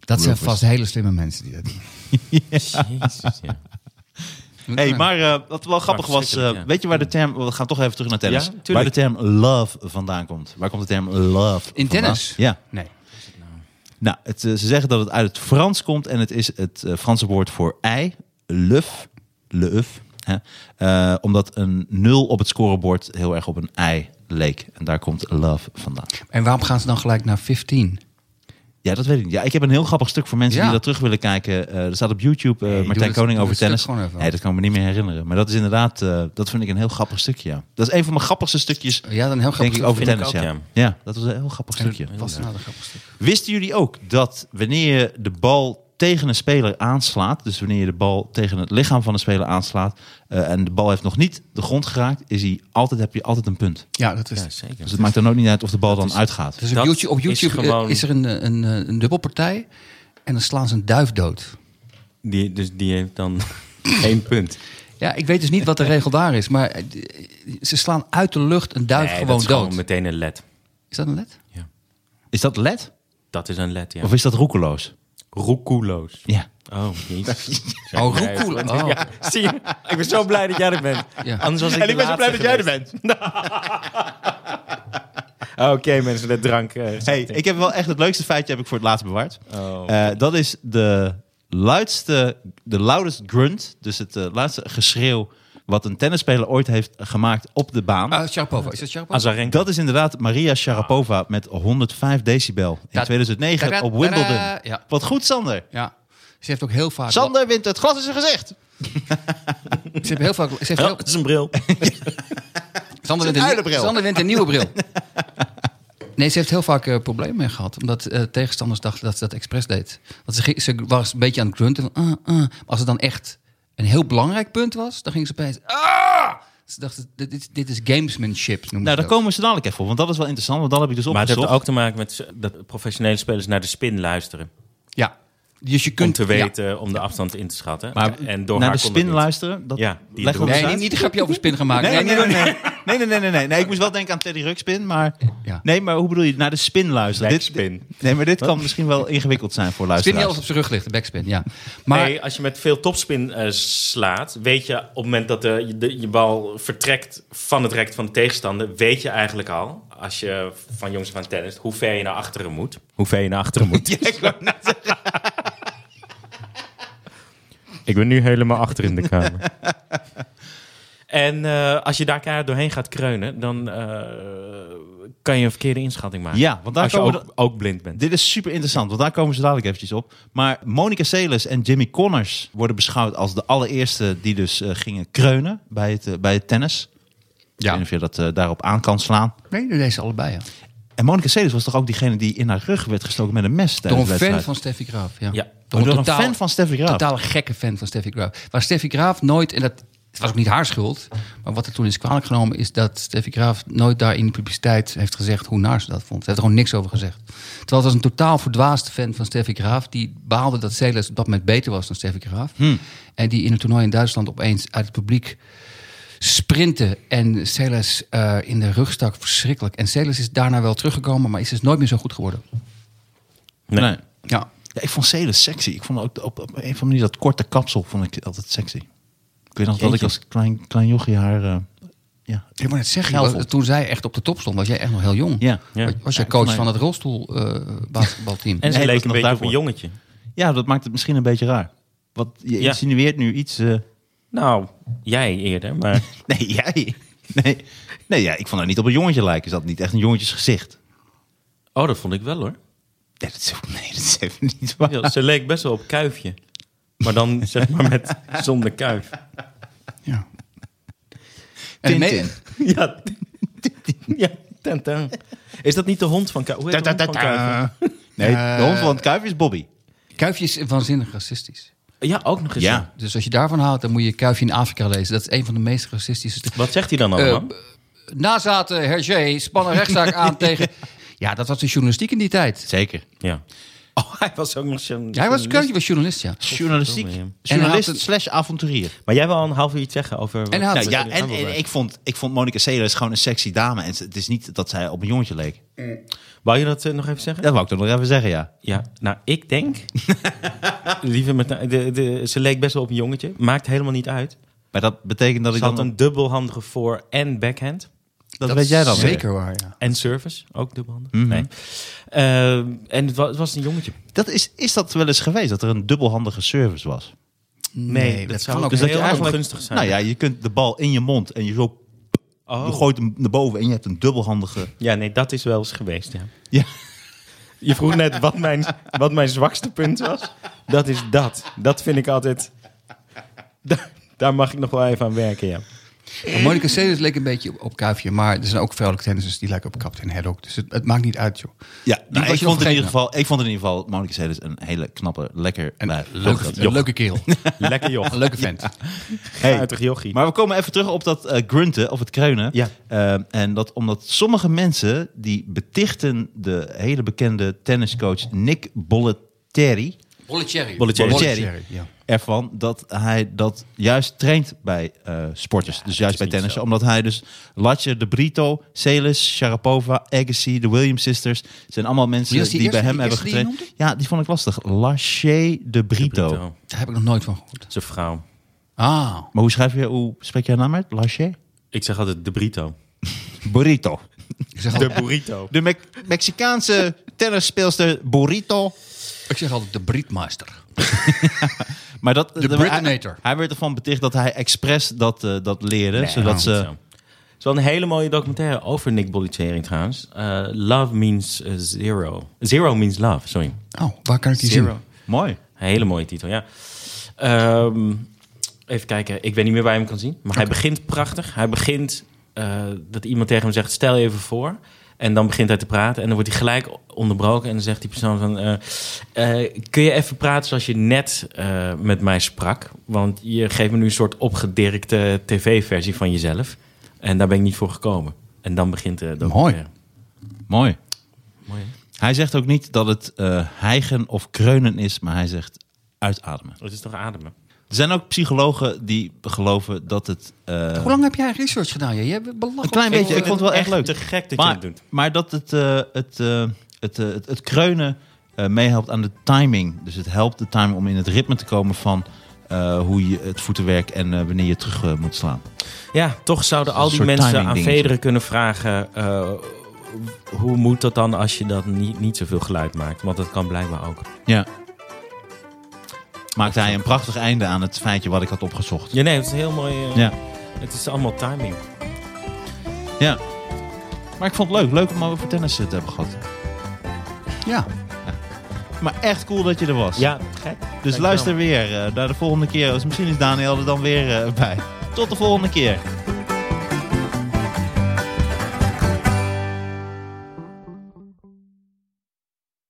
Dat zijn
Rufus.
vast hele slimme mensen die dat doen.
Jezus, ja.
hey, maar eh, wat wel grappig
Maar
was,
verschrikkelijk,
eh,
ja.
weet je waar de term... We gaan toch even terug naar tennis.
Ja, tuurlijk.
waar de term love vandaan komt. Waar komt de term love
In
vandaan?
tennis?
Ja.
Nee.
Nou, het, eh, ze zeggen dat het uit het Frans komt en het is het eh, Franse woord voor ei, luf, leuf. Hè? Eh, omdat een nul op het scorebord heel erg op een ei leek. En daar komt love vandaan.
En waarom gaan ze dan gelijk naar 15?
Ja, dat weet ik niet. Ja, ik heb een heel grappig stuk voor mensen
Ja.
die dat terug willen kijken. Eh, er staat op YouTube eh,
Nee, doe
Martijn
dat-
Koning
doe
over
dat stuk
tennis.
gewoon even.
Nee, dat kan ik me niet meer herinneren. Maar dat is inderdaad, eh, dat vind ik een heel grappig stukje. ja. Dat is een van mijn grappigste stukjes,
Ja, dan heel
denk
grappig.
ik, over
Vind ik
tennis.
ook,
ja. Ja. dat was een heel grappig stukje.
Was nou de grappig stuk.
Wisten jullie ook dat wanneer je de bal tegen een speler aanslaat, dus wanneer je de bal tegen het lichaam van een speler aanslaat eh, en de bal heeft nog niet de grond geraakt, is hij altijd, heb je altijd een punt.
Ja, dat is
ja, zeker.
Dus het maakt dan ook niet uit of de bal dan uitgaat.
Dus op
Dat
YouTube, op
is
YouTube eh, is,
gewoon-
er een, eh, een, eh, een dubbelpartij. En dan slaan ze een duif dood.
Die, dus die heeft dan één punt.
Ja, ik weet dus niet wat de regel daar is. Maar eh, ze slaan uit de lucht een duif
Nee, dat
gewoon
is
dood.
gewoon meteen een led.
Is dat een led?
Is dat led?
Dat is een led, ja.
Of is dat roekeloos?
Roekoeloos.
Ja.
Oh, jezus.
Oh, roekoel. Oh.
Ja, zie je? Ik ben zo blij dat jij er bent.
Ja.
Anders was ik de laatste geweest.
bent.
Oké, mensen, de drank. eh,
Hey, ik heb wel echt het leukste feitje heb ik voor het laatst bewaard.
Oh.
Eh, dat is de luidste, de loudest grunt, dus het eh, laatste geschreeuw wat een tennisspeler ooit heeft gemaakt op de baan.
Ah, Sharapova. Is dat Sharapova?
Azarenka.
Dat is inderdaad
Ah.
Maria Sharapova met 105 decibel in
Ta-
2009
ta-da,
op Wimbledon.
ta-da. Ja.
Wat goed,
Ah,
Sander.
Ja. Ze heeft ook heel vaak...
Sander wint het glas in zijn gezicht.
Ze heeft heel vaak... Ze heeft
Oh,
heel,
het is een bril.
Sander wint, een, nieuw-
uilenbril.
Sander wint een nieuwe bril. Nee, ze heeft heel vaak eh, problemen mee gehad. Omdat eh, tegenstanders dachten dat ze dat expres deed. Want ze, ging- ze was een beetje aan het grunten. Van, "Ah, ah." Maar als het dan echt een heel belangrijk punt was, dan ging ze opeens... Ah! Ze dachten, dit, dit, dit is gamesmanship. noemen
Nou,
ze
daar
dat.
komen ze dadelijk even op, want dat is wel interessant. Want dat heb ik dus
Maar het heeft
opgezocht.
ook te maken met dat professionele spelers naar de spin luisteren.
Ja. Dus je kunt
om te
ja.
weten, om de afstand in te schatten.
Maar
en door
naar
haar
de
kon dat
spin
niet.
luisteren, dat
Ja, die
leggen we
doen
ons
we.
Nee,
uit?
niet, niet een grapje over spin gaan maken.
Nee, nee, nee, nee, nee. Nee, nee, nee, nee, nee. Nee, ik moest wel denken aan Teddy Ruxpin, maar...
Ja.
Nee, maar hoe bedoel je? Naar de spin luisteren. Dit-
Backspin.
nee, maar dit kan misschien wel ingewikkeld zijn voor
Spin die
luisteraars.
alles op zijn rug ligt, de backspin, ja. Maar
nee, als je met veel topspin eh, slaat, weet je op het moment dat de, je- de, je bal vertrekt van het rek van de tegenstander, weet je eigenlijk al, als je van jongs af aan tennist, hoe ver je naar achteren moet. Hoe ver je naar achteren moet. ik ben nu helemaal achter in de kamer. En eh, als je daar keihard doorheen gaat kreunen, dan eh, kan je een verkeerde inschatting maken.
Ja, want daar
als je
komen
ook, ook blind bent.
Dit is super interessant, want daar komen ze dadelijk eventjes op. Maar Monica Seles en Jimmy Connors worden beschouwd als de allereerste die dus eh, gingen kreunen bij het, eh, bij het tennis. Ik weet
ja,
niet of je dat eh, daarop aan kan slaan.
nee, deze allebei, ja.
En Monica Seles was toch ook diegene die in haar rug werd gestoken met een mes
Door
tijdens
een
de
fan
wedstrijd?
van Steffi Graaf, ja.
Ja.
Door
Oh, door een fan van Steffi Graaf.
totale gekke fan van Steffi Graaf. Waar Steffi Graaf nooit, en dat het was ook niet haar schuld, maar wat er toen is kwalijk genomen is dat Steffi Graaf nooit daar in de publiciteit heeft gezegd hoe naar ze dat vond. Ze heeft er gewoon niks over gezegd. Terwijl het was een totaal verdwaasde fan van Steffi Graaf, die baalde dat Celes op dat moment beter was dan Steffi Graaf.
Hm.
En die in het toernooi in Duitsland opeens uit het publiek sprinten en Celes eh, in de rug stak verschrikkelijk. En Celes is daarna wel teruggekomen, maar is dus nooit meer zo goed geworden.
Nee.
Ja,
Ja, ik vond Seles sexy. Ik vond ook op, op een of andere manier dat korte kapsel vond ik altijd sexy. Ik weet nog dat ik
Jeetje.
als klein, klein jochie haar... eh, ja,
Ik moet het zeggen,
Geil
was-
vond.
toen zij echt op de top stond, was jij echt nog heel jong.
Ja.
Ja.
Was- Was jij
voor
coach
mij-
van het eh, rolstoelbasketbalteam?
En ze
Nee, dat
leek
was nog
een beetje op
daarvoor.
een jongetje.
ja, dat maakt het misschien een beetje raar. Want je
Ja.
insinueert nu iets... eh,
Nou, jij eerder, maar...
Nee, jij. Nee, nee ja, ik vond haar niet op een jongetje lijken. Is dat niet echt een jongetjesgezicht?
Oh, dat vond ik wel hoor.
Nee, dat is, nee, dat is even niet waar.
Ja, ze leek best wel op kuifje. Maar dan zeg maar met zonder kuif.
ja.
Tintin.
mee-
Ja, ja Tintin. Is dat niet de hond van kuif? Hoe heet de hond van kuif?
Nee, de hond van het kuif is Bobby.
Kuifje is waanzinnig racistisch.
Ja, ook nog eens.
Ja.
ja.
Dus als je daarvan houdt, dan moet je Kuifje in Afrika lezen. Dat is een van de meest racistische...
Wat zegt hij dan allemaal?
Eh, Nazaten Hergé spannen rechtszaak aan tegen... Ja, dat was de journalistiek in die tijd.
Zeker.
ja. Oh, hij was ook nog zo'n...
Jij was, Kuifje was journalist, ja.
Journalistiek,
Godverdomme, ja.
En hij
journalist
had een-
slash avonturier.
Maar jij wil al een half uur iets zeggen over...
En hij had-
Nou, ja,
Ja,
en,
wel waar.
en ik vond, ik vond Monica Seles gewoon een sexy dame. En ze- het is niet dat zij op een jongetje leek.
Wou je dat eh, nog even zeggen?
Dat wou ik toch nog even zeggen, ja.
Ja, nou, ik denk... Lieve met, de, de, ze leek best wel op een jongetje. Maakt helemaal niet uit.
Maar dat betekent dat
Ze
ik
had
dan...
een dubbelhandige voor- en backhand.
dat, weet jij dan weer.
Zeker waar, ja.
En service, ook dubbelhandig. Nee. Eh, en het wa- het was een jongetje.
Dat is, is dat wel eens geweest, dat er een dubbelhandige service was?
Nee, dat,
kan
zou
ook
ook
Dus
heel
dat je eigenlijk...
ongunstig zijn.
Nou ja, je kunt de bal in je mond en je zo...
Oh.
Je gooit hem naar boven en je hebt een dubbelhandige...
ja, nee, dat is wel eens geweest. Ja.
Ja.
Je vroeg net wat mijn, wat mijn zwakste punt was. Dat is dat. Dat vind ik altijd. Daar, daar mag ik nog wel even aan werken. Ja.
Maar Monica Seles leek een beetje op, op Kuifje. Maar er zijn ook vrouwelijke tennissers die lijken op Captain Haddock. Dus het, het maakt niet uit, joh.
Ja, nou, ik,
was je nog
vond in ieder
vergeten.
geval, ik vond in ieder geval Monica Seles een hele knappe, lekker
En
wijf.
leuk,
Vond ik dat.
een leuke kerel.
Lekker joch.
Een leuke vent.
Hey,
Uitig jochie.
Maar we komen even terug op dat eh, grunten of het kreunen.
Ja.
Eh, en dat omdat sommige mensen die betichten de hele bekende tenniscoach Nick Bollettieri
Bollettieri.
Bollettieri.
Bollettieri.
ja.
ervan dat hij dat juist traint bij eh, sporters. dus juist bij tennis. Omdat hij dus Latje, De Brito, Celis, Sharapova, Agassi, de Williams sisters. zijn allemaal mensen
Wie
die,
was die eerste-
bij hem
die
hebben
eerste die je
getraind. ja, die vond ik lastig. Laché, De Brito.
Brito,
Daar heb ik nog nooit van gehoord.
Zijn vrouw.
Ah,
Maar hoe schrijf je, hoe spreek je haar naam uit? Laché?
Ik zeg altijd de Brito.
Burrito.
ik zeg,
De
altijd,
burrito.
De Me- Mexicaanse tennisspeelster Burrito.
ik zeg altijd de Breedmaster.
Maar dat, de
Britinator.
Hij, hij werd ervan beticht dat hij expres dat, eh, dat leerde. zodat ze,
Het is wel een hele mooie documentaire over Nick Bollettieri trouwens. Eh, love means eh, zero. Zero means love, sorry.
Oh, waar kan ik die zien?
Mooi.
Een hele mooie titel, ja. Ehm, even kijken, ik weet niet meer waar je hem kan zien. Maar hij begint prachtig. Hij begint eh, dat iemand tegen hem zegt, stel je even voor. En dan begint hij te praten en dan wordt hij gelijk onderbroken. En dan zegt die persoon van, eh, eh, kun je even praten zoals je net eh, met mij sprak? Want je geeft me nu een soort opgedirkte tv-versie van jezelf. eh, En daar ben ik niet voor gekomen. En dan begint de documentaire.
Mooi.
Mooi, hè?
Hij zegt ook niet dat het eh hijgen of kreunen is, maar hij zegt uitademen.
Het is toch ademen?
Er zijn ook psychologen die geloven dat het... eh,
Hoe lang heb jij research gedaan? Jij hebt belachelijk.
Een klein
veel-
beetje. Ik vond het wel echt leuk.
te gek dat
maar,
je het doet.
Maar dat het, eh, het, eh, het, eh, het, het kreunen eh, meehelpt aan de timing. Dus het helpt de timing om in het ritme te komen van eh, hoe je het voetenwerk en eh, wanneer je terug eh, moet slaan.
Ja, toch zouden al
Een
die
soort
mensen aan
timing dingetje.
Federer kunnen vragen... eh, hoe moet dat dan als je dat niet, niet zoveel geluid maakt? Want dat kan blijkbaar ook.
Ja. Maakte hij een prachtig einde aan het feitje wat ik had opgezocht.
Ja, nee, het is heel mooi. eh,
Ja.
Het is allemaal timing.
ja. Maar ik vond het leuk. Leuk om over tennis te hebben gehad.
Ja.
Maar echt cool dat je er was.
Ja, gek.
Dus luister weer eh, naar de volgende keer. Dus Misschien is Daniel er dan weer eh, bij. Tot de volgende keer.